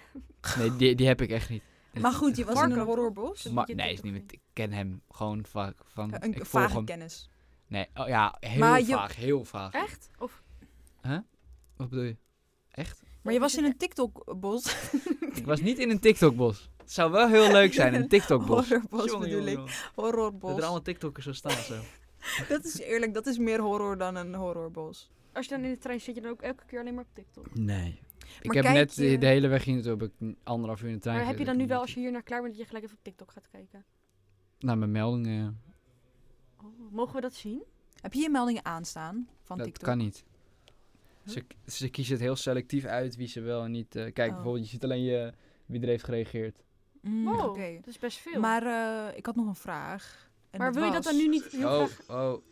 [SPEAKER 3] nee die, die heb ik echt niet.
[SPEAKER 2] Maar goed, je was in
[SPEAKER 1] Marco.
[SPEAKER 2] een horrorbos.
[SPEAKER 1] dat
[SPEAKER 3] Maar,
[SPEAKER 1] moet je
[SPEAKER 3] nee, is niet
[SPEAKER 1] TikTok
[SPEAKER 3] met, ik ken hem gewoon vaak. Van,
[SPEAKER 2] Een
[SPEAKER 3] ik volg
[SPEAKER 2] vage
[SPEAKER 3] hem.
[SPEAKER 2] kennis.
[SPEAKER 3] Nee, oh, ja, heel
[SPEAKER 2] Maar je-
[SPEAKER 3] vaag. Heel vaag.
[SPEAKER 1] Echt? Of
[SPEAKER 3] Wat bedoel je? Echt?
[SPEAKER 2] Maar je
[SPEAKER 1] Of
[SPEAKER 2] was
[SPEAKER 1] is
[SPEAKER 2] in
[SPEAKER 1] het e-
[SPEAKER 2] een TikTok-bos.
[SPEAKER 3] Ik was niet in een TikTok-bos. Het zou wel heel leuk zijn, een TikTok-bos.
[SPEAKER 2] Horrorbos
[SPEAKER 3] Jongen,
[SPEAKER 2] bedoel
[SPEAKER 3] jongen,
[SPEAKER 2] ik.
[SPEAKER 3] jongen. Dat er
[SPEAKER 2] Horrorbos.
[SPEAKER 3] allemaal TikTokkers zo staan. Zo.
[SPEAKER 2] Dat is eerlijk, dat is meer horror dan een horrorbos.
[SPEAKER 1] als je dan in de trein zit, je dan ook elke keer alleen maar op TikTok.
[SPEAKER 3] Nee. Ik
[SPEAKER 2] Maar
[SPEAKER 3] heb
[SPEAKER 2] kijk
[SPEAKER 3] net eh,
[SPEAKER 2] je-
[SPEAKER 3] de, de hele weg hier naartoe heb ik een anderhalf uur in de trein
[SPEAKER 1] Maar heb je dan
[SPEAKER 3] gezeten.
[SPEAKER 1] nu wel, als je hier naar klaar bent, dat je gelijk even op TikTok gaat kijken?
[SPEAKER 3] Naar mijn meldingen, ja.
[SPEAKER 1] Oh, mogen we dat zien?
[SPEAKER 2] Heb je je meldingen aanstaan van
[SPEAKER 3] dat
[SPEAKER 2] TikTok?
[SPEAKER 3] kan niet. Ze, ze kiezen het heel selectief uit wie ze wel en niet... eh, kijk,
[SPEAKER 2] Oh.
[SPEAKER 3] bijvoorbeeld, je ziet alleen je, wie er heeft gereageerd.
[SPEAKER 2] Mm,
[SPEAKER 1] Wow,
[SPEAKER 2] Oké.
[SPEAKER 1] dat is best veel.
[SPEAKER 2] Maar eh, ik had nog een vraag. En
[SPEAKER 1] maar wil je dat
[SPEAKER 2] was-
[SPEAKER 1] dan nu niet heel
[SPEAKER 3] Oh,
[SPEAKER 1] graag...
[SPEAKER 3] oh,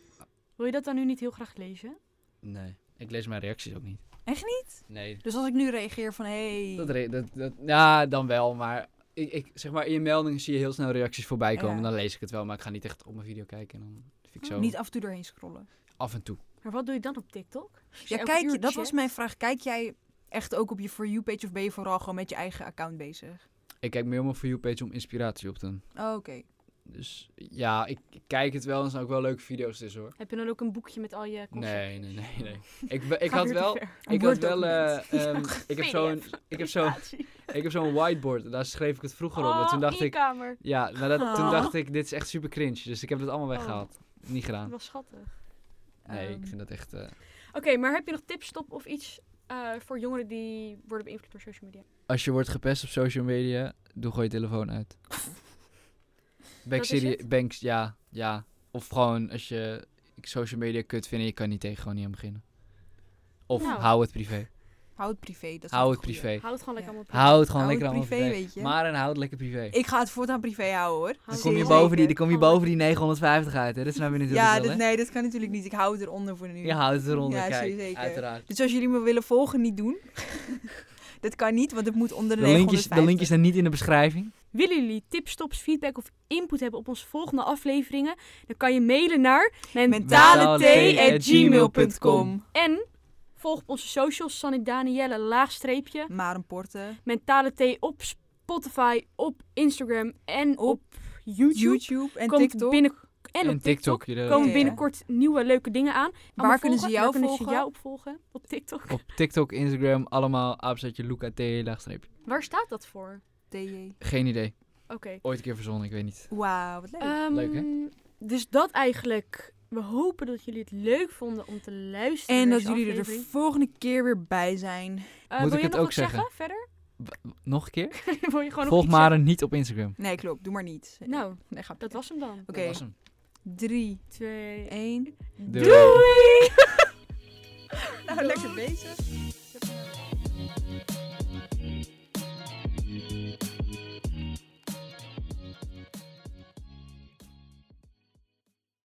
[SPEAKER 1] Wil je dat dan nu niet heel graag lezen?
[SPEAKER 3] nee. Ik lees mijn reacties ook niet.
[SPEAKER 2] Echt
[SPEAKER 3] niet? Nee.
[SPEAKER 2] Dus als ik nu reageer van, hey...
[SPEAKER 3] Dat, re- dat, dat, ja, dan wel, maar... Ik, ik, zeg maar, in je meldingen zie je heel snel reacties voorbij komen.
[SPEAKER 2] Ja.
[SPEAKER 3] Dan lees ik het wel, maar ik ga niet echt op mijn video kijken. En dan vind ik zo
[SPEAKER 2] Niet af en toe doorheen scrollen.
[SPEAKER 3] af en toe.
[SPEAKER 1] Maar wat doe je dan op TikTok? Als je
[SPEAKER 2] Ja,
[SPEAKER 1] elke
[SPEAKER 2] kijk,
[SPEAKER 1] uur
[SPEAKER 2] je- dat was
[SPEAKER 1] checkt?
[SPEAKER 2] mijn vraag. Kijk jij echt ook op je For You-page of ben je vooral gewoon met je eigen account bezig?
[SPEAKER 3] Ik kijk meer op mijn For You-page om inspiratie op te doen.
[SPEAKER 2] Oh, Oké.
[SPEAKER 3] Dus ja, ik, ik kijk het wel en zijn ook wel leuke video's dus hoor.
[SPEAKER 1] Heb je dan ook een boekje met al je concepten?
[SPEAKER 3] Nee, nee, nee, nee. Ik, we- ik
[SPEAKER 1] Gaat
[SPEAKER 3] had
[SPEAKER 1] weer te
[SPEAKER 3] wel,
[SPEAKER 1] ver.
[SPEAKER 3] ik had wel, eh, ehm, ik heb zo'n,
[SPEAKER 1] PDF.
[SPEAKER 3] ik heb zo'n,
[SPEAKER 1] Presentatie.
[SPEAKER 3] ik heb zo'n whiteboard. Daar schreef ik het vroeger op.
[SPEAKER 1] Oh,
[SPEAKER 3] En toen dacht ik,
[SPEAKER 1] kamer.
[SPEAKER 3] ja, maar dat, toen
[SPEAKER 2] Oh.
[SPEAKER 3] dacht ik, dit is echt super cringe. Dus ik heb het allemaal
[SPEAKER 1] Oh.
[SPEAKER 3] weggehaald. Niet
[SPEAKER 1] Dat
[SPEAKER 3] gedaan.
[SPEAKER 1] was schattig.
[SPEAKER 3] Nee,
[SPEAKER 2] Ehm,
[SPEAKER 3] ik vind dat echt. eh,
[SPEAKER 1] Oké, maar heb je nog tips, stop of iets eh, voor jongeren die worden beïnvloed door social media?
[SPEAKER 3] Als je wordt gepest op social media, doe gewoon je telefoon uit. Ben ik
[SPEAKER 1] Dat is
[SPEAKER 3] serie-
[SPEAKER 1] het?
[SPEAKER 3] ben ik- ja, ja. Of gewoon als je ik social media kut vindt en je kan niet tegen, gewoon niet aan beginnen. Of
[SPEAKER 1] Nou.
[SPEAKER 3] hou het privé.
[SPEAKER 2] Hou het privé. Dat is
[SPEAKER 3] Hou
[SPEAKER 2] wel
[SPEAKER 3] het
[SPEAKER 2] een goeie.
[SPEAKER 3] privé.
[SPEAKER 1] Houd gewoon lekker
[SPEAKER 2] Ja.
[SPEAKER 1] allemaal op.
[SPEAKER 3] Hou het gewoon
[SPEAKER 2] Hou
[SPEAKER 3] lekker
[SPEAKER 2] het
[SPEAKER 3] allemaal
[SPEAKER 2] privé,
[SPEAKER 3] privé.
[SPEAKER 2] weet je.
[SPEAKER 3] Maar en hou het lekker privé.
[SPEAKER 2] Ik ga het voortaan privé houden, hoor.
[SPEAKER 1] Dan
[SPEAKER 3] Dan
[SPEAKER 1] Hou
[SPEAKER 3] kom, je
[SPEAKER 1] het
[SPEAKER 3] boven die,
[SPEAKER 2] zeker.
[SPEAKER 3] dan kom je boven die 950 uit. Hè? Dat snap je natuurlijk
[SPEAKER 2] Ja,
[SPEAKER 3] wel,
[SPEAKER 2] dit,
[SPEAKER 3] hè?
[SPEAKER 2] nee, dat kan natuurlijk niet. Ik hou het eronder voor nu.
[SPEAKER 3] Je houdt het eronder,
[SPEAKER 2] Ja,
[SPEAKER 3] kijk.
[SPEAKER 2] zeker.
[SPEAKER 3] Uiteraard.
[SPEAKER 2] Dus als jullie me willen volgen, niet doen. dat kan niet, want het moet onder
[SPEAKER 3] De
[SPEAKER 2] de,
[SPEAKER 3] linkjes, de
[SPEAKER 2] 950.
[SPEAKER 3] linkjes staan niet in de beschrijving.
[SPEAKER 1] Willen jullie tips, tops, feedback of input hebben op onze volgende afleveringen? Dan kan je mailen naar E
[SPEAKER 2] Mentaletea@gmail.com.
[SPEAKER 3] E
[SPEAKER 1] En volg op onze socials, Sanne Danielle, laagstreepje.
[SPEAKER 2] Maar een porte.
[SPEAKER 1] Mentale Thee op Spotify, op Instagram en op,
[SPEAKER 2] Op
[SPEAKER 1] YouTube.
[SPEAKER 2] YouTube en
[SPEAKER 1] Komt
[SPEAKER 2] TikTok.
[SPEAKER 1] binnen- en
[SPEAKER 3] En,
[SPEAKER 1] op TikTok.
[SPEAKER 3] TikTok. eh, jullie-
[SPEAKER 1] Komen
[SPEAKER 2] Ja.
[SPEAKER 1] binnenkort nieuwe leuke dingen aan. Allemaal
[SPEAKER 2] Waar kunnen ze
[SPEAKER 1] volgen.
[SPEAKER 2] jou
[SPEAKER 1] Waar kunnen
[SPEAKER 2] volgen?
[SPEAKER 1] jou opvolgen? Op TikTok.
[SPEAKER 3] Op TikTok, Instagram, allemaal apenstaartje Luca T. laagstreep.
[SPEAKER 1] Waar staat dat voor?
[SPEAKER 2] TJ.
[SPEAKER 3] Geen idee.
[SPEAKER 1] Oké.
[SPEAKER 3] Ooit een keer verzonnen, ik weet niet.
[SPEAKER 2] Wauw, wat leuk.
[SPEAKER 1] Ehm,
[SPEAKER 3] Leuk,
[SPEAKER 1] Dus dat eigenlijk. We hopen dat jullie het leuk vonden om te luisteren.
[SPEAKER 2] en
[SPEAKER 1] naar
[SPEAKER 2] dat
[SPEAKER 1] deze
[SPEAKER 2] jullie er de
[SPEAKER 1] aflevering.
[SPEAKER 2] volgende keer weer bij zijn.
[SPEAKER 1] Eh,
[SPEAKER 3] Moet
[SPEAKER 1] wil je
[SPEAKER 3] ik het
[SPEAKER 1] nog
[SPEAKER 3] ook
[SPEAKER 1] wat zeggen? Verder?
[SPEAKER 3] Nog een keer?
[SPEAKER 1] wil je gewoon nog
[SPEAKER 3] Volg
[SPEAKER 1] iets
[SPEAKER 3] Maren niet op Instagram.
[SPEAKER 2] Nee, klopt. Doe maar niet.
[SPEAKER 1] zeggen? Nou,
[SPEAKER 2] nee, grapje.
[SPEAKER 1] dat was hem dan.
[SPEAKER 2] Oké,
[SPEAKER 3] Dat was hem.
[SPEAKER 2] 3,
[SPEAKER 1] Twee.
[SPEAKER 2] 1.
[SPEAKER 3] Doei.
[SPEAKER 2] Nou, lekker bezig.